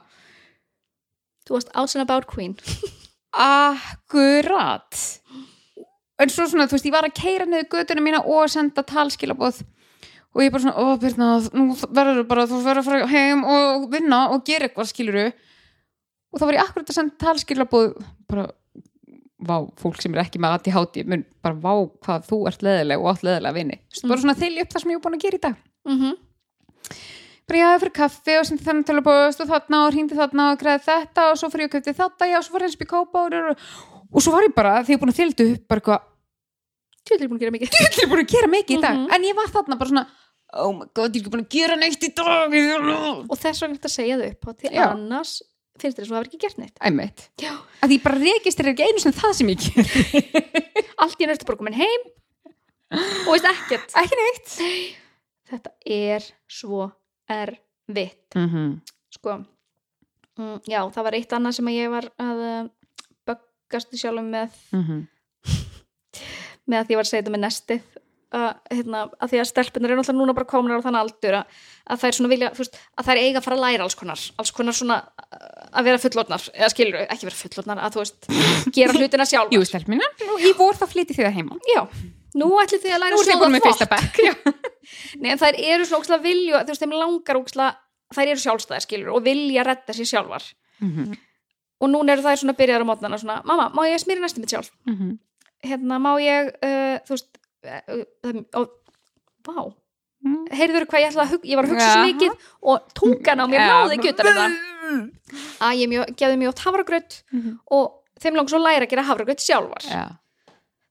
þú varst out and about queen
akkurat en svo svona, þú veist, ég var að keira niður götuna mína og senda talskilabóð og ég bara svona, ó Birna, nú verður bara, þú verður að fara heim og vinna og gera eitthvað skiluru og þá var ég akkurat að senda talskilabóð bara, vá, fólk sem er ekki með ADHD mun bara, vá, hvað þú ert leðileg og allt leðilega vini, Þú veist, bara svona þylja upp það sem ég er búin að gera í dag
Mhm.
bara já, ég fyrir kaffi og sendi þennan tölubóst og þarna og hringdi þarna og greiði þetta og svo fyrir ég að köpti þetta, já, svo fyrir eins upp í kópa og, og svo var ég bara, þegar ég er búin að þyldu upp bara eitthvað,
Þú er búin að gera mikið.
ég er búin að gera mikið í dag
Mhm.
en ég var þarna bara svona, oh my god, ég er ekki búin að gera neitt í dag
Og þess vegna þetta segja þau upp á því
Já.
annars finnst þér þess að þú hefur ekki gert neitt.
æmitt,
Já.
að ég bara registrir ekki einu sem það sem ég ger
Allt í nörstu bara komin heim og veist ekkert.
ekki neitt
Þetta er svo erfitt.
mm -hmm.
sko mm, já, það var eitt annað sem að ég var að uh, böggast í sjálfum með,
Mm -hmm.
með að því ég var að segja þetta með nestið uh, hérna, að því að stelpunar eru náttúrulega núna bara komin á þann aldur að, að þær svona vilja þú veist, að þær eiga að fara að læra alls konar alls konar svona uh, að vera fullornar eða skilur ekki vera fullornar að þú veist gera hlutina sjálf
jú, stelp mína, í vor þá flytti þið það heima
já, nú ætli þið að
nú
læra
er þið búin með fyrsta bekk já.
Nei, en þær eru svona ókslega vilju þú veist, þeim langar ókslega þær eru sjálfstæðar skilur og vilja redda sér sjálfar
Mm
og núna eru þær svona byrjar á mótnana svona, mamma, má ég smýra næstum mitt sjálf
Mhm.
hérna má ég uh, þú veist uh, uh, og, vá,
Mm.
heyrður hvað ég ætla að hugsa ég var að hugsa svo
Jaha. Mm,
mikið og tungan á mér náði ekki utan um það að ég mjög, gefði mjög oft hafragraut
Mhm.
og þeim langt svo læra að gera hafragraut sjálfar
já,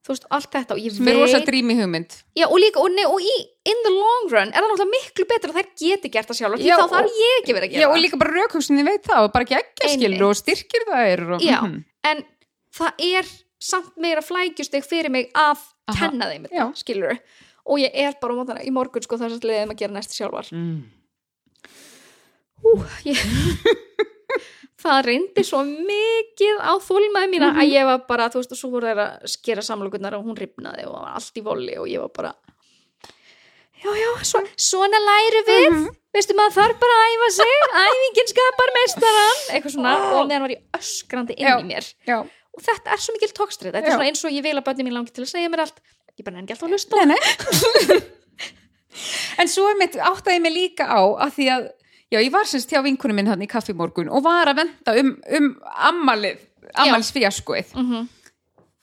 þú veist, allt þetta og ég
sem er rosa
veit
drými hugmynd
já, og líka, og, nei, og í, in the long run er það náttúrulega miklu betra að þær geti gert það sjálfar því
Já,
þá þarf
og-
ég ekki verið að gera
Já, og líka bara raukhugsinni veit það og bara ekki ekki skilur
Einmitt.
og styrkir það er og,
Já.
Mhm.
en það er samt meira flækjusteg fyrir mig að
Aha.
kenna þeim
Já.
þetta, skilur og ég er bara á mótana í morgun sko þess að leiðum að gera næst sjálfar
Mm.
Ú, ég... það reyndi svo mikið á þólmaði mína að
Mhm.
ég var bara, þú veist, og svo voru þær að skera samlokurnar og hún ripnaði og var allt í voli og ég var bara já, já, svo, svona læru við
Mhm.
veistu maður þarf bara að æfa sig æfingin skapar mestaran eitthvað svona, og meðan var ég öskrandi inn
Já.
í mér
Já.
og þetta er svo mikil tókstrið þetta er
Já.
svona eins og ég vil að bönni mín langi til að segja mér allt ég bara nenni ekki alltaf að hlusta
Nei, nei. en svo er mitt áttaði mig líka á að því að já, ég var semst hjá vinkunum minn hann í kaffimorgun og var að venda um, um ammalið, ammalsfjaskoið
mm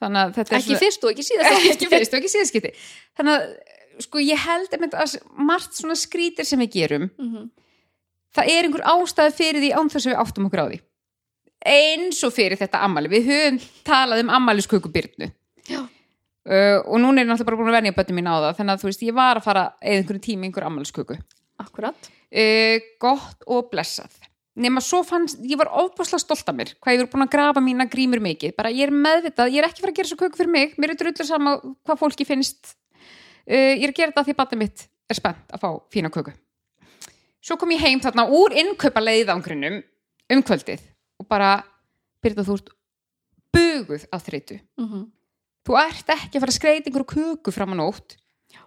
þannig að þetta er
ekki fyrst og ekki síðast
ekki fyrst og ekki síðaskipti þannig að sko ég held einmitt að margt svona skrítir sem við gerum
mm
það er einhver ástæð fyrir því án þess að við áttum okkur á því eins og fyrir þetta ammali við höfum talað um ammalisköku Birnu
Já.
uh, og núna er ég náttúrulega bara búin að venja bönni mín á það þannig að þú veist, ég var að fara eða einhverjum tími einhver ammalisköku
akkurat
uh, gott og blessað nema svo fannst, ég var ofbúslega stolt af mér hvað ég var búin að grafa mína grímur mikið bara ég er meðvitað, ég er ekki fara að gera svo köku fyrir mig mér er drullu sama hvað fólki finnst uh, ég er að gera þetta af því að batni mitt er spennt að fá fína köku svo kom ég heim þarna úr innkaupa leiðangrunum um kvöldið og bara, Birta þú ert buguð af þreytu
mm
þú ert ekki að fara að skreita einhverju köku fram á nótt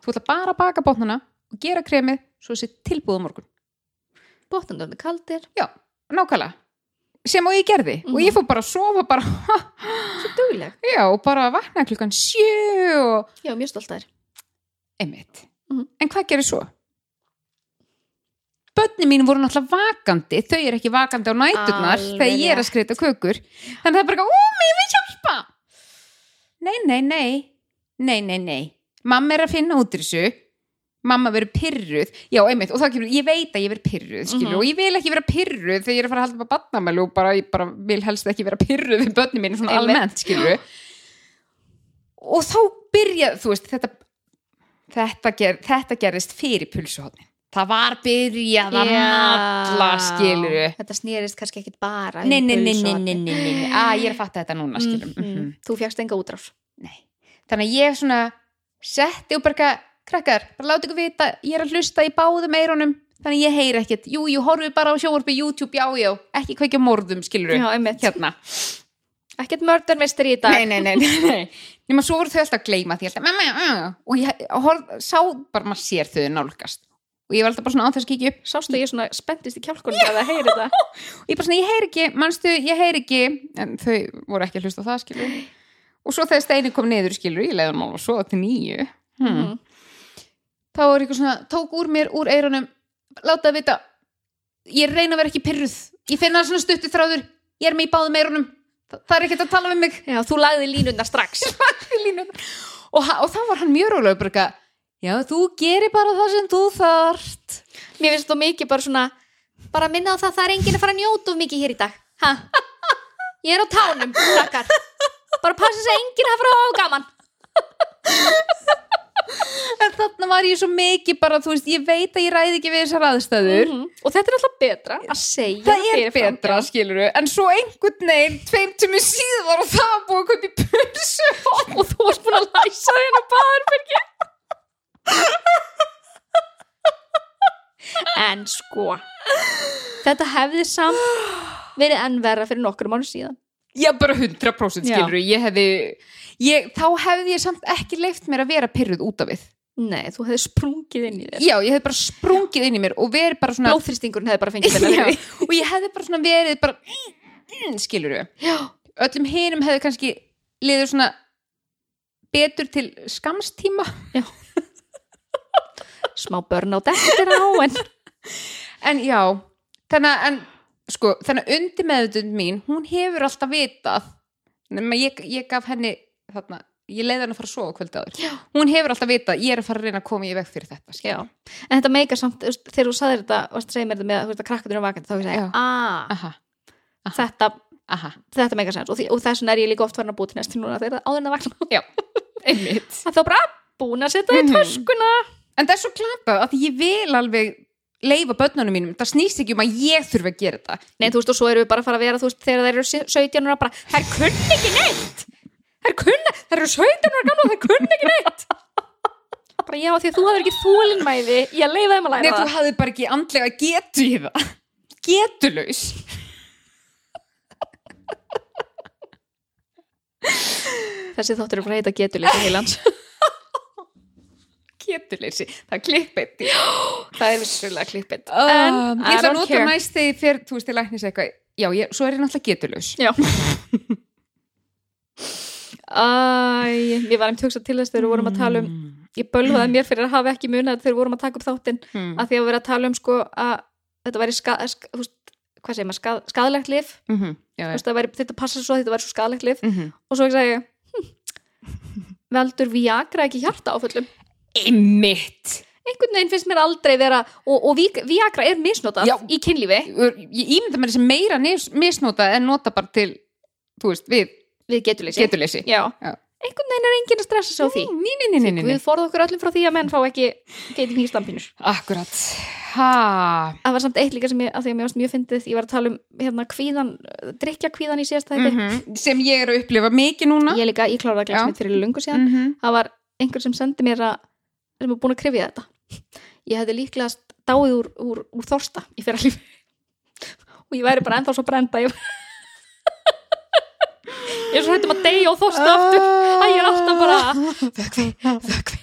þú ætla bara að baka bóknuna og gera kremið svo þessi tilbúða morgun
bóttandöfni kaldir
Já, nákvæmlega sem og ég gerði og ég fór bara að sofa bara,
svo dugleg
já, og bara vaknaði klukkan sjö og
ég var mjög stolt þær
einmitt
Mhm.
en hvað gerir svo? Bönni mín voru náttúrulega vakandi þau eru ekki vakandi á næturnar
Alveg
þegar ég er að skreita kökur þannig það er bara, eitthvað, ú, mér vil hjálpa nei, nei, nei nei, nei, nei, mamma er að finna út úr þessu mamma verður pyrruð já, einmitt, og þá kemur, ég veit að ég verð pyrruð skilur,
Mhm.
og ég vil ekki vera pyrruð þegar ég er að fara að halda upp á batnamælu og bara, ég bara vil helst ekki vera pyrruð við bönni mín svona
Einmitt.
almennt, skilur og þá byrja, þú veist, þetta þetta, ger, þetta gerðist fyrir pulsuhotnin það var byrjað að alla skilur
þetta snýrist kannski ekkit bara um
nei, nei, nei, nei,
pulsuhornið.
nei, nei, nei. Ah, ég er að fatta þetta núna skilur mm
Mhm. þú fjagst enga útráf
Nei. þannig að ég svona setti og bara eitthvað, krakkar, bara láta ykkur vita ég er að hlusta í báðum eyrunum þannig að ég heyri ekkert, jú, jú, horfið bara á sjóvarpi YouTube, já, já, ekki kveikja á morðum skilur
já, einmitt
hérna
ekkit mörder misteri í dag
nei, nei, nei, nei, nei. nema svo voru þau alltaf að gleyma því alltaf, mamma, uh, og ég horf, sá bara maður sér þau nálgast og ég var alltaf bara svona á þess að kíkja upp
sástu ég svona spenntist í kjálkunum að það heyri þetta
og ég bara svona, ég heyr ekki, manstu, ég heyr ekki en þau voru ekki að hlusta á það, skilur og svo þegar steinin kom niður skilur ég leiðum og svo til nýju hmm. þá var eitthvað svona tók úr mér úr eirunum láta það vita ég reyna að vera ekki pyrruð ég finna svona stutti þráður ég er með í báðum eirunum Þa, það er ekkert að tala við mig
Já, þú lagði línuna strax
og, ha- og þá var hann mjög rólega bara eitthvað, já þú gerir bara það sem þú þarft
Mér finnst þú mikið bara svona bara minna á það að það er enginn að fara að njóta of mikið hér í dag ha? Ég er á tánum, krakkar bara passa þess að enginn að fara á gaman
en þarna var ég svo mikið bara þú veist, ég veit að ég ræði ekki við þessar aðstæður
mm. og þetta er alltaf betra að segja
það er
fyrirfram.
betra, skilur við en svo einhvern veginn, tveim tími síðan var og það var búið að kaupa í pulsu og þú varst búin að læsa þérna baðarbyrgi
En sko þetta hefði samt verið enn verra fyrir nokkur mánu síðan
já, bara 100%
Já.
skilur við, ég hefði ég, þá hefði ég samt ekki leift mér að vera pyrruð út af við
Nei, þú hefði sprungið inn í þér
já, ég hefði bara sprungið inn í mér og verið bara svona
Blóðþrýstingurinn hefði bara fengið þennan
Já,
yfir.
og ég hefði bara svona verið bara skilur við öllum hinum hefði kannski liður svona betur til skamstíma
Smá börn á dektir á en
en já, þannig að en, sko, þannig að undir meðutund mín hún hefur alltaf vitað nema ég, ég gaf henni þarna, ég leiði henni að fara að sofa kvöldi áður já. hún hefur alltaf vitað, ég er að fara að reyna að koma í veg fyrir þetta
Já.
skilurðu.
En þetta meika samt, þú veist, þegar þú saðir þetta varst að segja mér þetta með að, þú veist, að krakkatur er vakandi þá hefði
Já.
ég að
aha,
þetta,
aha,
þetta meika sens og, því- og þess vegna er ég líka oft farin að búa til næst til núna þegar áður en að vakna
já, einmitt
að þá bara búin að setja það
Mhm.
í töskuna
en það er svo klapað að ég vil alveg leifa börnunum mínum, það snýst ekki um að ég þurfi að gera þetta
Nei, þú veist, og svo erum við bara að fara að vera, þú veist, þegar þeir eru 17 ára bara, þær kunni ekki neitt þær kunni, þær eru 17 ára gamla þær kunni ekki neitt bara já, því að þú hafðir ekki þólinmæði í að leiða þeim að
Nei,
læra
þú
það
hafði bara ekki andlega getu í það. Getulaus.
þessi þáttur er bara að heita getuleika heilans
Getulausi. Það er klippið.
það er vissulega klippið
En
en,
ég
Um, I
ætla að
don't
nota
care
næst þegar fyrir, þú veist, ég læknis eitthvað. Já, ég, svo er ég náttúrulega getulaus.
já Æ, ég var einmitt hugsað til þess þegar við vorum að tala um ég bölvaði mér fyrir að hafa ekki munað þegar við vorum að taka upp þáttinn
Mm.
að því að vera að tala um sko að þetta væri ska, ska, þú veist, hvað segir maður, skað, skaðlegt lif
Mm -hmm.
Þú
Já, já.
veist, það væri, þetta passa svo að þetta væri svo skadalegt lif
Mm -hmm.
og svo ekki segja hm, veldur Viagra ekki hjarta áföllum
Einmitt.
einhvern veginn finnst mér aldrei vera og, og Vi- Viagra er misnotað
Já.
í kynlífi
Ör- Ég ímynda mér þessi meira nes- misnota en nota bara til, þú veist, við
við getuleysi
getulausi.
Já.
Já.
einhvern veginn er enginn að stressa sig á því
Ný, ný, ný, ný, ný, ný.
við forðum okkur öllum frá því að menn fá ekki geitum hýrstampinur
Akkurat. Ha.
það var samt eitt líka sem ég, að því að mér varst mjög fyndið ég var að tala um hérna kvíðan drikja kvíðan í síðast þetta
Mm Sem ég er að upplifa mikið núna.
Mm-hmm. ég líka, ég kláraði að
Já.
glæsa mitt fyrir lungu síðan
Mm -hmm.
það var einhver sem sendi mér að sem er búin að krifja þetta ég hefði líklegast dáið úr, úr, úr þorsta í fyrra lífi og ég væri bara ennþá svo brenda ég, ég er svo hættum að deyja og þorsta aftur að ég er alltaf bara
Vökvi, vökvi.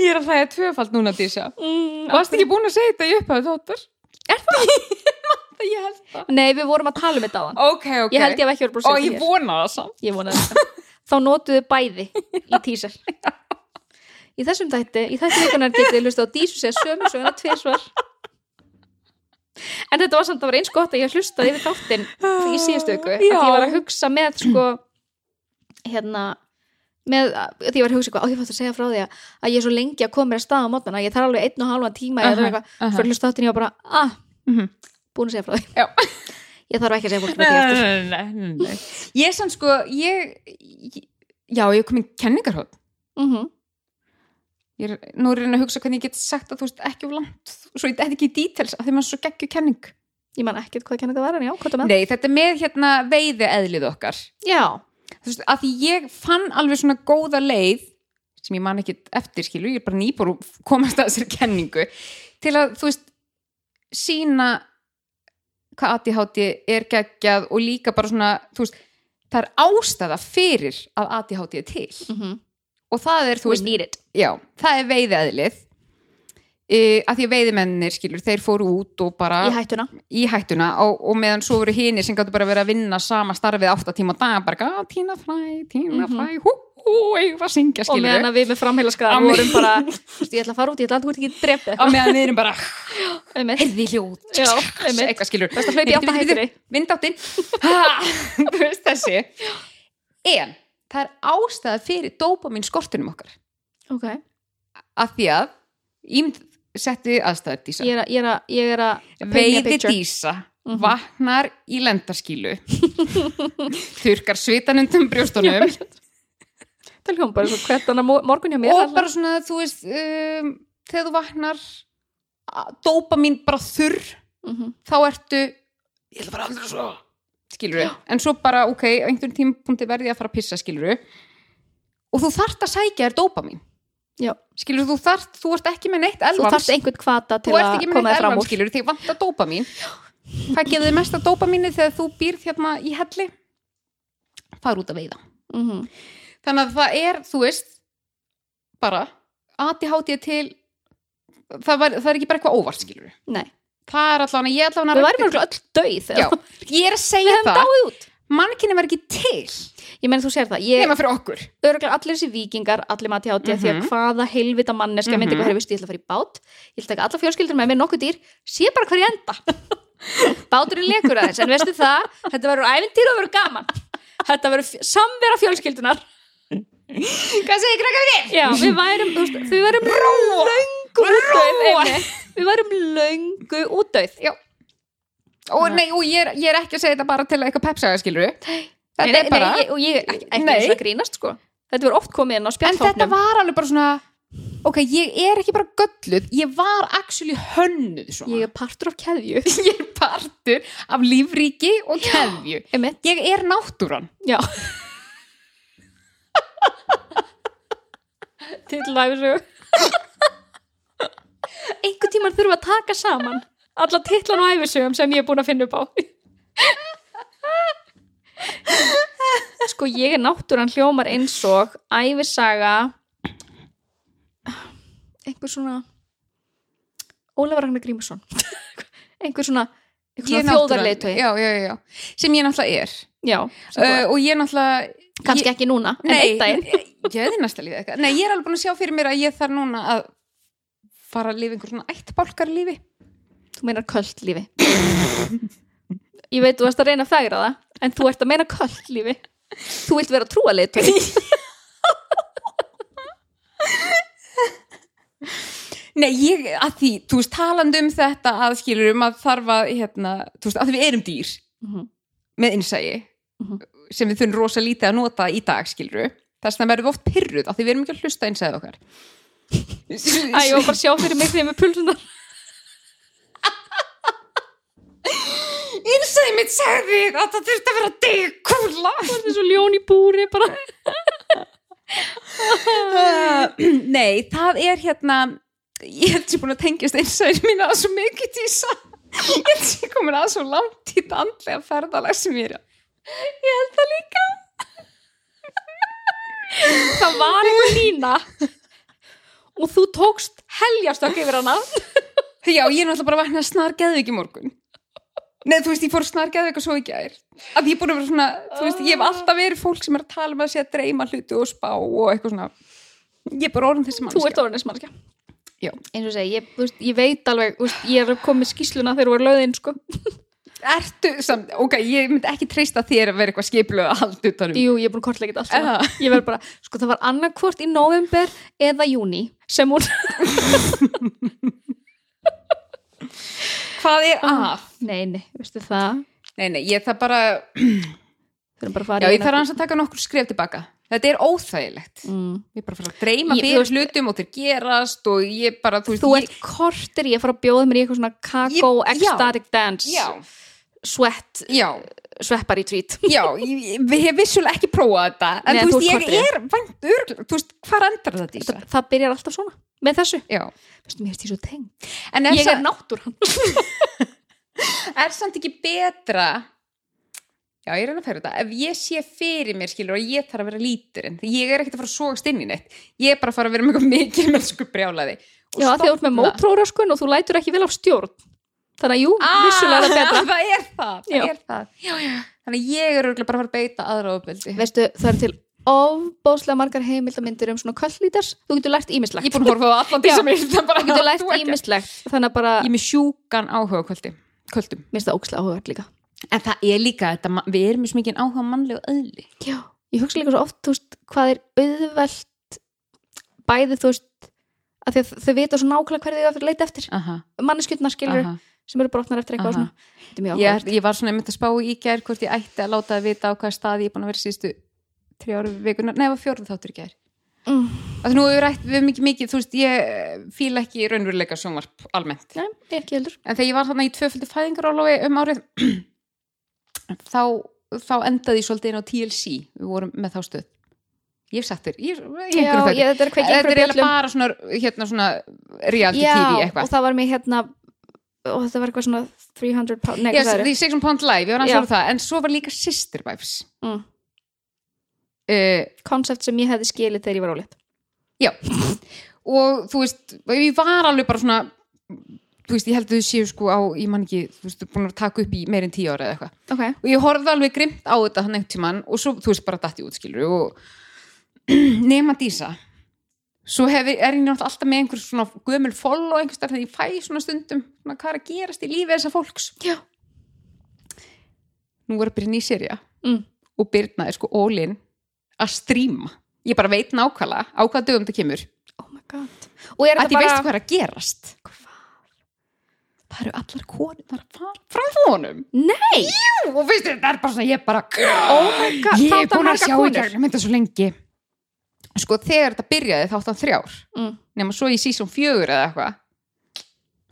Ég er að hlæja tvöfald núna, Dísa.
mm,
Varst ekki búin að segja þetta í upphæðu þóttur? Er það? ég held það.
nei við vorum að tala um þetta á hann
Ok, ok.
ég held ég hef ekki verið búin
Og
að segja
ég
þetta hér
vona það samt.
ég vona þetta þá notuðu bæði í tísar í þessum þætti í þætti vikunar getið þið hlusta á dísu sér sömu söguna tvisvar en þetta var samt að vera eins gott að ég hlustaði yfir þáttinn í síðustu viku að
Já.
ég var að hugsa með sko hérna með, að því ég var að hugsa eitthvað, á ég fætti að segja frá því að, að ég er svo lengi að koma mér að staða á mótnana ég þarf alveg einn og halvan tíma uh
Aha,
-huh, eitthvað, uh
aha.
fyrir hlusta þáttinn ég var bara, ah,
Mhm.
búin að segja frá því
Já.
ég þarf ekki að segja fólk frá því eftir
Nei, nei, nei, nei. Ég er samt sko, ég, ég- já, ég er komin kenningarhótt.
mm
Ég er nú er ég að reyna að hugsa hvernig ég get sagt að þú veist ekki of langt, svo ég þetta ekki í details að því maður er svo geggju kenning.
ég man ekkert hvað kenninga var en já, hvað það með
Nei, þetta er með hérna veiði eðlið okkar.
já,
Þú veist, að því ég fann alveg svona góða leið sem ég man ekki eftir skilu, ég er bara nýbúr og komast að þessari kenningu til að, þú veist, sína hvað ADHD er geggjað og líka bara svona, þú veist, það er ástæða fyrir að ADHD er til
mm -hmm.
og það er, þú veist,
need it
já, það er veiðeðlið e, að því að veiðimennir skilur, þeir fóru út og bara
í hættuna
í hættuna og, og meðan svo voru hinir sem gætu bara verið að vinna sama starfið átta tíma á dag bara "Ah, gá, tína fræ, tína
Mhm.
fræ hú, hú, eigum að syngja
og
skilur
meðan að við með
Á
framheilaskaðan
meðan-
vorum bara, þú veist, ég ætla að fara út ég ætla að þú ert ekki drepa
á meðan við erum bara
einmitt,
heyrði hljóð
Já, einmitt.
eitthvað skilur
Best að hlaupa í átta hættri.
vindáttinn þú veist þessi en það er ástæða fyrir dópamin skortunum okkar
ok,
af því að ímynd setti aðstæður dísa
ég er að- ég er að- ég er að paint me a
veiði
picture.
dísa
Mhm.
vaknar í lendarskilu þurkar svitan undan um brjóstunum
Það hljóðum bara svo hvert annar mo- morgun hjá mér
og
þarna.
bara svona þú veist um, þegar þú vaknar dópamin bara þurr
Mhm.
þá ertu ég ætla bara aldrei svo skilur en svo bara ok, á einhvern tímapunkti verði ég að fara að pissa skilur og þú þarft að sækja þér dópamin
Já.
skilur þú þarft, þú ert ekki með neitt
þú
elvans
þarft einhvern kvata til
þú ert
að
ekki með
koma
neitt
þér fram
elvans
úr
skilur þig vant að dópamin það gefur þið mesta dópaminu þegar þú býrð hérna í helli fara út að veiða
Mhm.
þannig að það er, þú veist bara, ADHD til það, var, það er ekki bara eitthvað óvart skilur
Nei.
það er allan að ég allan að
við værum mjög öll döið
Já,
eða-
ég er að
við
segja
hefum
það,
dáið út
mannkynni var ekki til
ég meina þú sér það, ég
nema fyrir okkur
örgulega allir þessi vikingar, allir mati á því að
Mhm.
hvaða heilvita manneska mm -hmm. myndi
Mhm.
hvað er, veist, ég ætla að fara í bát, ég ætla að taka alla fjölskyldur með mér nokkuð dýr, sé bara hvar ég enda báturinn lekur aðeins en veistu það, þetta verður ævintýr og verður gaman þetta verður f- samvera fjölskyldunar
Hvað segir krakkar fyrir?
Já, við værum, þú veist, við værum löngu útdauð einmitt. Við værum löngu útdauð
Já. Og nei, og ég er, ég er ekki að segja þetta bara til að eitthvað pepsaga skilur Þetta
Nei,
er bara
nei, ég, Og ég ekki, ekki
Nei.
svona grínast sko Þetta verður oft komið inn á
En þetta
spjallhóknum
var alveg bara svona Ok, ég er ekki bara gölluð Ég var actually hönnuð svona
Ég er partur af keðju
ég er partur af lífríki og keðju
Einmitt,
Ég er náttúran
já Titlæfi svo Einhvern tímann þurfum við að taka saman alla titlan og æfisögum sem ég er búin að finna upp á Sko ég er náttúran hljómar eins og æfisaga einhver svona Ólafur Ragnar Grímusson einhver svona, einhver
Ég er
svona þjóðarleitu
Já, já, já, já, sem ég náttúrulega er
Já,
uh, Og ég náttúrulega
kannski
ég,
ekki núna en
Nei,
einn daginn
ég hefði næsta lífið eitthvað Nei, ég er alveg búin að sjá fyrir mér að ég þarf núna að fara að lifa einhver svona ættbálkar lífi
Þú meinar köld lífi Ég veit þú varst að reyna að fegra það En þú ert að meina köld lífi Þú vilt vera trúalit
Nei, ég, að því, þú veist, talandi um þetta að skilurum að þarf að, hérna, þú veist, að því við erum dýr
Mhm.
með innsægi
Mhm.
sem við þurfum rosa lítið að nota í dag, skiluru þess vegna verðum við oft pyrruð að því við erum ekki að hlusta innsæði okkar
Æ, ég var bara að sjá fyrir mig þegar með pulsunar
Innsæði mitt sagði að það þurfti að vera dekúla
Það er svo ljón í búri bara
Nei, það er hérna ég held ég búin að tengjast innsæði mín að svo mikið tísa ég held ég komin að svo langt í þetta andlega ferðalag sem ég er á. ég held það líka
Það var einhver lína Og þú tókst heljarstökk yfir hana
Já, ég er náttúrulega bara vaknað snar geðvik í morgun Nei, þú veist, ég fór snar geðvik og svo ekki aðeir Að ég er búin að vera svona, þú veist, ég hef alltaf verið fólk sem er að tala með að segja dreyma hluti og spá og eitthvað svona Ég er bara orðin þessi
Þú ert
mannskja
orðinismannskja
Já.
Eins og segi, ég, þú veist, ég veit alveg þú veist, Ég er komið skýsluna þegar þú var löðin sko.
Ertu samt, ok, ég myndi ekki treysta þér að vera eitthvað skiplu að halda utanum
Jú, ég er búin að kortlega þetta allt
Eða?
saman. Ég verð bara, sko það var annarkvort í november eða júni sem hún
Hvað er að?
Nei, nei, veistu það
Ah. Nei, nei, ég það bara
Þau erum bara að fara
Já,
í
ég
eina-
þarf hans að taka nokkur skref tilbaka Þetta er óþægilegt
mm.
Ég er bara að fara að
Ég-
dreyma
þú
fyrir
veist-
hlutum og þeir gerast og ég bara, þú veist,
Þú
ég,
ert kortir í að fara að bjóða mér í eitthvað svona kakó,
Ég- já.
ecstatic dance
Já,
sweat,
já
sveppar í tvít
Já, ég, ég- við hefum vissulega ekki prófað þetta en
Nei,
þú
þú
veist,
ert
ég er vænt örgl þú veist, hvar endar þetta í
það, það byrjar alltaf svona, með þessu
Já,
Vistu, Mér finnst ég svo teng
en er,
Ég er
sa
náttúran
er samt ekki betra Já, ég reyna að fyrir þetta ef ég sé fyrir mér, skilur, að ég sko þarf að vera lítur en ég er ekkert að fara að sogast inn í neitt ég er bara að fara að vera með eitthvað mikil mennsku brjálaði
Já, af því að þú ert með mótróröskun og þú lætur ekki vel á stjórn Þannig að jú, vissulega er það betra
Ah,
Já.
það er það, það, er það. Já, já. þannig að ég er örugglega bara að fara að beita aðra ofbeldi
Veistu, það er til ofbóðslega margar heimildamindir um svona köllítas Þú getur lært
ég
ímislegt
er búin að horfa á allan því sem ég það bara
Þú getur
þú
lært
ekki.
ímislegt Þannig að bara,
ég er með sjúkan áhuga á kvöldi kvöldum
minnst það ókslega áhugað líka
En það er líka þetta, ma- við erum mjög mikið áhuga á mannlegu öðli.
Já, ég hugsa líka svo oft, þú veist, hvað er auðvelt bæði, þú veist að því að þau vita svo nákvæmlega hverði þau að leita eftir
Aha,
manneskjötnar skilur
aha.
sem eru brotnar eftir eitthvað
Aha.
og svona Þetta er mjög
Ég,
áhugað
ég var svona einmitt að spá í gær hvort ég ætti að láta að vita á hvaða stað ég er búin að vera síðustu þrjá ára vikunar, nei, það var fjórða þáttur í gær.
Mm.
Að nú hefur rætt við mikið mikið, þú veist, ég eh, fíla ekki raunveruleika sjónvarp almennt.
Nei, ég ekki heldur
En þegar ég var þarna í tvöföldu fæðingarólofi um árið, þá, þá endaði ég svolítið inn á TLC, við vorum með þá stöð. Ég hef sagt þér, ég, ég,
Já, ég, þetta er að kveikja
þetta er
einhverju
eiginlega
bjöllum
bara svona, hérna, svona reality TV
Já,
eitthvað.
og það var mér hérna og það var eitthvað svona 300 pound Nei,
yes,
hvað það
The
eru
Six and Pound Live, ég var hans
Já.
að það en svo var líka Sister Wives
Mm.
uh,
Koncept sem ég hefði skilið þegar ég var ólétt
já og þú veist, ég var alveg bara svona þú veist, ég held að þau séu sko á ég man ekki, þú veist, búin að taka upp í meir en tíu ára eða eitthvað,
Ok,
og ég horfði alveg grimt á þetta hann einhvern tímann og svo, þú veist, bara datti út skilur og nema dísa svo hef, er ég náttúrulega alltaf með einhver svona gömul follow einhvers þar þegar ég fæ svona stundum svona, hvað er að gerast í lífi þessa fólks
Já.
nú var að byrja ný serja
mm.
og Birna er sko ólinn að stríma ég bara veit nákvæmlega á hvaða dögum það kemur
oh my god Og er
að
þetta
ég veist
bara
hvað er að gerast það eru allar konum að fara fram frá honum
Nei,
Jú, og veist þetta er bara svona ég bara
oh my god
ég er
þarna
búin að
margar
sjá í
konur.
gegnum þetta svo lengi sko þegar þetta byrjaði þá áttan þrjár
Mm.
nema svo í season fjögur eða eitthvað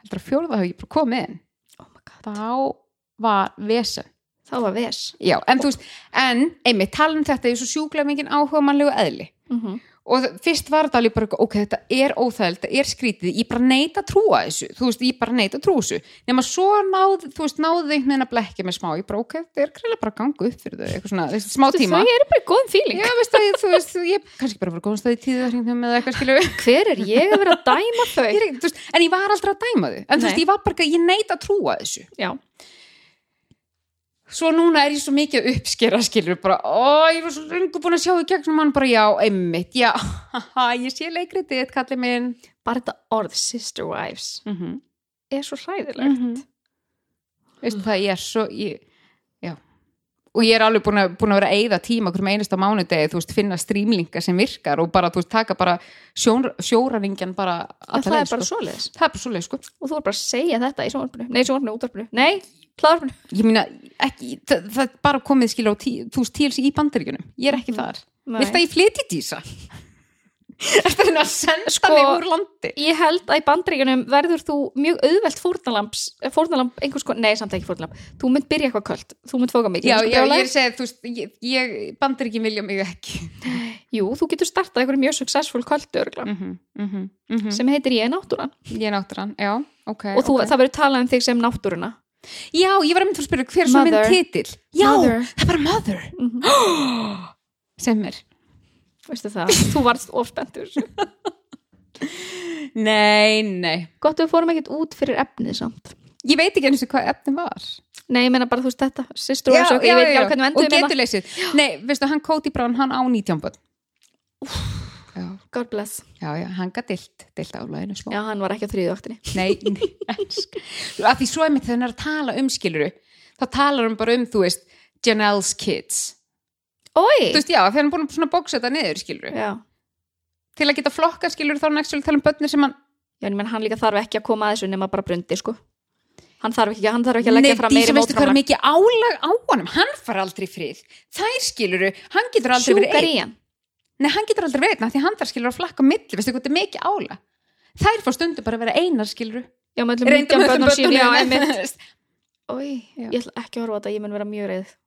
heldur að fjórða hef ég bara komið inn
Oh my god,
þá var vesen
þá var ves
já, en þú veist, en einmitt tala um þetta ég er svo sjúklega mikið áhuga mannlegu eðli
Mhm.
og þ- fyrst var þetta alveg bara eitthvað, ok, þetta er óþægild, þetta er skrítið ég bara neita að trúa þessu, þú veist, ég bara neita að trúa þessu, nema svo náð þú veist, náðu þau einhvern veginn að blekja mig smá ég bara, ok, þetta er kreila bara að ganga upp fyrir þau eitthvað svona, þessi smá
Þau
tíma
eru bara í góðum fíling
Já, veist, það, þú veist, ég kannski bara var góðanstæði tíðu hringnum um eða eitthvað skilu
Hver er ég að vera að dæma
Ég
þau?
er ekki- þú veist, en ég var aldrei að dæma þau en þú
Nei.
veist, ég var bara, ekki- ég neita að trúa þessu
Já,
svo núna er ég svo mikið að uppskera skilur bara, ó, ég var svo lengur búin að sjá í gegnum hann bara, já, einmitt, já haha, ég sé leikritið, kalli minn
bara þetta orð sister wives
mm -hmm.
er svo hræðilegt
veistu það, ég er svo ég, já, og ég er alveg búin að, búin að vera að eyða tíma hverjum einasta mánudegi, þú veist, finna strímlinga sem virkar og bara, þú veist, taka bara sjón, sjóraringjan bara
En
alla
það
leið,
er bara
sko.
svoleiðis
það er bara svoleið, sko
Og þú er bara að segja þetta í sjónvarpinu Nei, í sjónvarpinu, útvarpinu Nei, hlaðvarpinu
ég meina, ekki, það, það er bara komið skilur á tí, þú veist, tíls í bandaríkunum ég er ekki þar,
Mhm. Nei.
vilt að ég flytja dísa Ertu að reyna að senda
Sko,
mig úr landi
Ég held að í bandaríkunum verður þú mjög auðvelt fórnalamps Fórnalamp, einhvers konar, nei, samt ekki fórnalamp Þú mynd byrja eitthvað kvöld, þú mynd fóka mikið
Já,
Þú
já,
brjálæði.
ég er að segja, þú veist, ég, ég bandir ekki vilja mig ekki.
Jú, þú getur startað einhverju mjög successful kvöld örgla,
Mm -hmm, mm
mhm,
-hmm, mm -hmm.
sem heitir ég er náttúran
Ég náttur hann, já, ok.
og þú,
ok.
það verður talað um þig sem náttúruna
Já, ég var að mynda að spyrja hver er svo minn
Mother.
titill Já,
Mother.
það er bara mother sem er
Veistu það, þú varst ofspendur
Nei, nei,
Gott við fórum ekkert út fyrir efnið samt
ég veit ekki eins og hvað efni var
Nei, ég meina bara þú veist þetta, systur og ég veit ekki alveg hvernig við endum
og
hérna.
getur leysið Nei, veistu, hann Cody Brown, hann á 19 bönn já,
God bless
já, já, hann gætt deilt, deilt álaginu smá
Já, hann var ekki á þriðu vaktinni
Nei, nei, elsk. að því svo einmitt þegar hann er að tala um skiluru þá talar hann bara um, þú veist Janelle's Kids Þú
Oi!
veist, já, þegar hann er búin að svona bóksa þetta niður skiluru
Já.
til að geta flokka skiluru þá er hann ekki að tala um börnir sem hann
Já, en ég menn hann líka þarf ekki að koma að þessu nema bara brundi, sko. Hann þarf ekki, hann þarf ekki að leggja fram meiri
Dísa, veistu hvað er
mótframlag.
mikið álag á honum hann far aldrei í frið, þær skiluru hann getur aldrei verið
Sjúkar
einn
í hann.
nei, hann getur aldrei verið einn af því að hann þar skilur að flakka á milli, veistu hvað þetta er mikið álag þær fá stundum bara að vera einar skiluru
Já, með öllum myndjum bönnum sín. Já, einmitt.
nei,
Oi,
Já.
ég ætla ekki að horfa á þetta, ég mun vera mjög reið.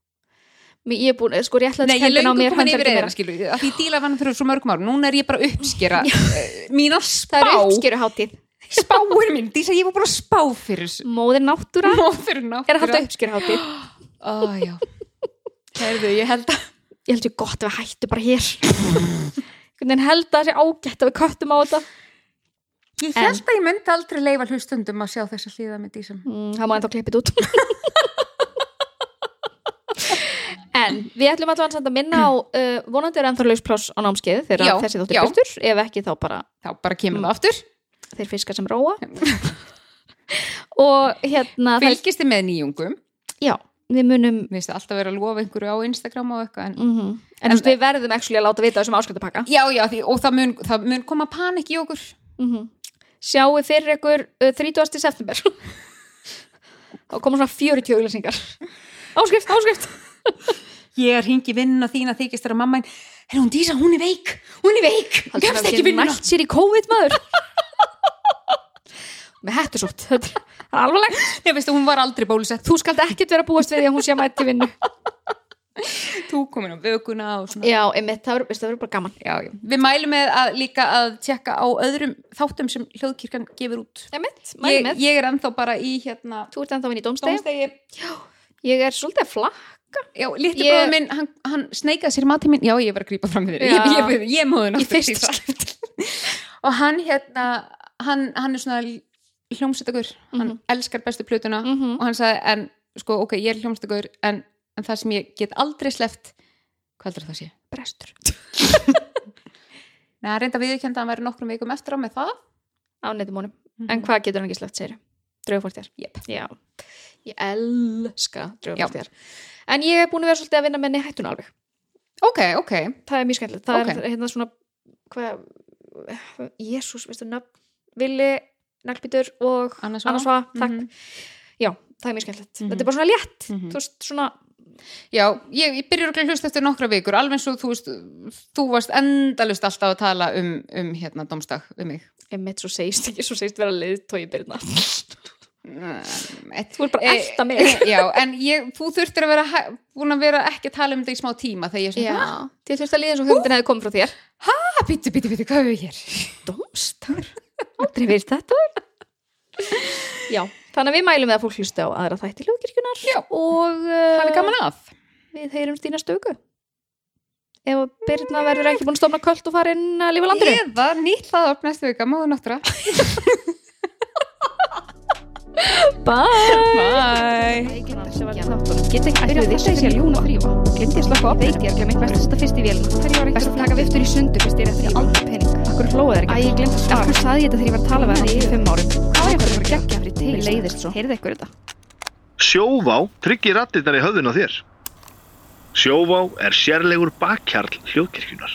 Mér, ég er búin, sko,
ég er
réttlætskendin á
löngu
mér,
komin
hann þarf
yfir
ekki
einar
meira.
skiluru af því ég díla vann fyrir svo mörgum árum núna er ég bara að uppskera eh, mínar spá,
Það er uppskeru hátíð.
spáir mín Dísa, ég var búin að spá fyrir þessu
Móðir náttúra
Móður
er að halda
náttúra.
uppskeru hátíð.
Ó, já. Heyrðu, ég held að
Ég held ég gott að við hættu bara hér. Hvernig held að það sé ágætt að við köttum á þetta.
Ég
En-
held að ég myndi aldrei leifa hlustundum að sjá þessa hliða með dísum.
Mm, það má ennþá klippið út En við ætlum allavega samt að minna á uh, vonandi er ennþá laus pláss á námskeið þegar
Já,
þessi
já.
þóttir byrtur, ef ekki þá bara
Þá bara kemur það aftur.
þeir fiskar sem róa og hérna það,
Fylgist þið með nýjungum.
já, við munum
Mér finnst það alltaf vera að lofa einhverju á Instagram og eitthvað. En...
mm en, en við verðum actually að láta vita af þessum áskriftapakka
Já, já, því, og það mun, það mun koma panik í okkur.
mm sjáu fyrir ykkur uh, 30. september og koma svona 40 auglýsingar áskrift, áskrift
Ég er hingi vinnuna þína þykist þér að mamma einn, er hún dísa, hún er veik, hún er veik, hún
Haldur
kemst ekki vinnuna.
nætt sér í COVID maður með hættusótt það er alvarlegt
Ég veist að hún var aldrei bólusett,
þú skalt ekkert vera að búast við því að hún sé að mæti vinnu
þú komin á vökuna og svona.
já, einmitt, það verður- veistu, það verður bara gaman
já, já. Við mælum með að líka að tjekka á öðrum þáttum sem hljóðkirkjan gefur út.
einmitt,
Ég,
mælum með
ég er ennþá bara í hérna
þú ert ennþá inn í dómstegi
dómstegi.
ég er svolítið að flakka
Já, litli
Ég-
ég... bróður minn, hann, hann sneikaði sér mati minn. Já, ég var að grípa fram við þér.
Já.
Ég, ég, ég, ég móði
í
náttúrulega
fyrst skipt
Og hann hérna, hann, hann er svona hljómsveitagur. Hann elskar bestu plötuna
Mhm.
og hann sagði, en sko, ok, ég er hljómsveitagur, en, en það sem ég get aldrei sleppt, hvað heldur það sé?
brestur
Nei, hann reynda viðurkjönda að hann væri nokkrum vikum eftir á með það.
á netumónum en hvað getur hann ekki slögt segir draugfórtjar
Jep.
já ég elska draugfórtjar en ég er búin að vera svolítið að vinna með hættuna alveg
Ok, ok.
það er mjög skemmtilegt það
Ok.
er hérna svona hvað, jésús, veistu nöfn Vili, Naglbítur og
Anna Svava.
Annarsva, takk
Mhm.
já, það er mjög skemmtilegt,
Mhm.
þetta er bara svona létt
Mhm.
þú veist, svona,
Já, ég, ég byrjur að hlusta eftir nokkra vikur, alveg eins og þú veist, þú varst endalust alltaf að tala um, um hérna, domstag, um mig.
einmitt svo segist ekki svo segist vera liðtói byrna
Þú
þú er bara að elta mig
Eh, Já, en ég, þú þurftir að vera hæ- búin að vera ekki að tala um þetta í smá tíma þegar ég er svona, "Ah,
já, þið þurft að líða eins og hugmyndin hefði komið frá þér
hæ, býttu, býttu, býttu, hvað er við hér?
domstar, aldrei verið þetta já, þannig að við mælum með að fólk hlusta á aðra þætti hljóðkirkjunar
Já.
og uh,
Hafi gaman af.
við heyrumst í næstu viku ef að Birna verður ekki búin að stofna kvöld og fara inn að lifa landinu
Eða nýtt það upp næstu vika, móðu náttúra.
Bye
Bye!
Get ekki byrjað þess að ég sé að ljúna þrýfa. Glimti að slaka á Veikir, glem eitt best að setja fyrst í vélina. Hverju var Best að taka viftur í sundu fyrst ég er að þrýfa. Aldrei pening. Akkur hlóða þeir ekki. Æ, ég glimti að svara. Akkur saði ég þetta þegar ég var að tala við hann í fimm árum. Hvað er það að gegja fyrir tegil? Mér leiðist svo. Heyrðu ykkur þetta?
Sjóvá tryggir rattirnar í höfðun á þér. Sjóvá er sérlegur bakkjarl hljóðkirkjunar.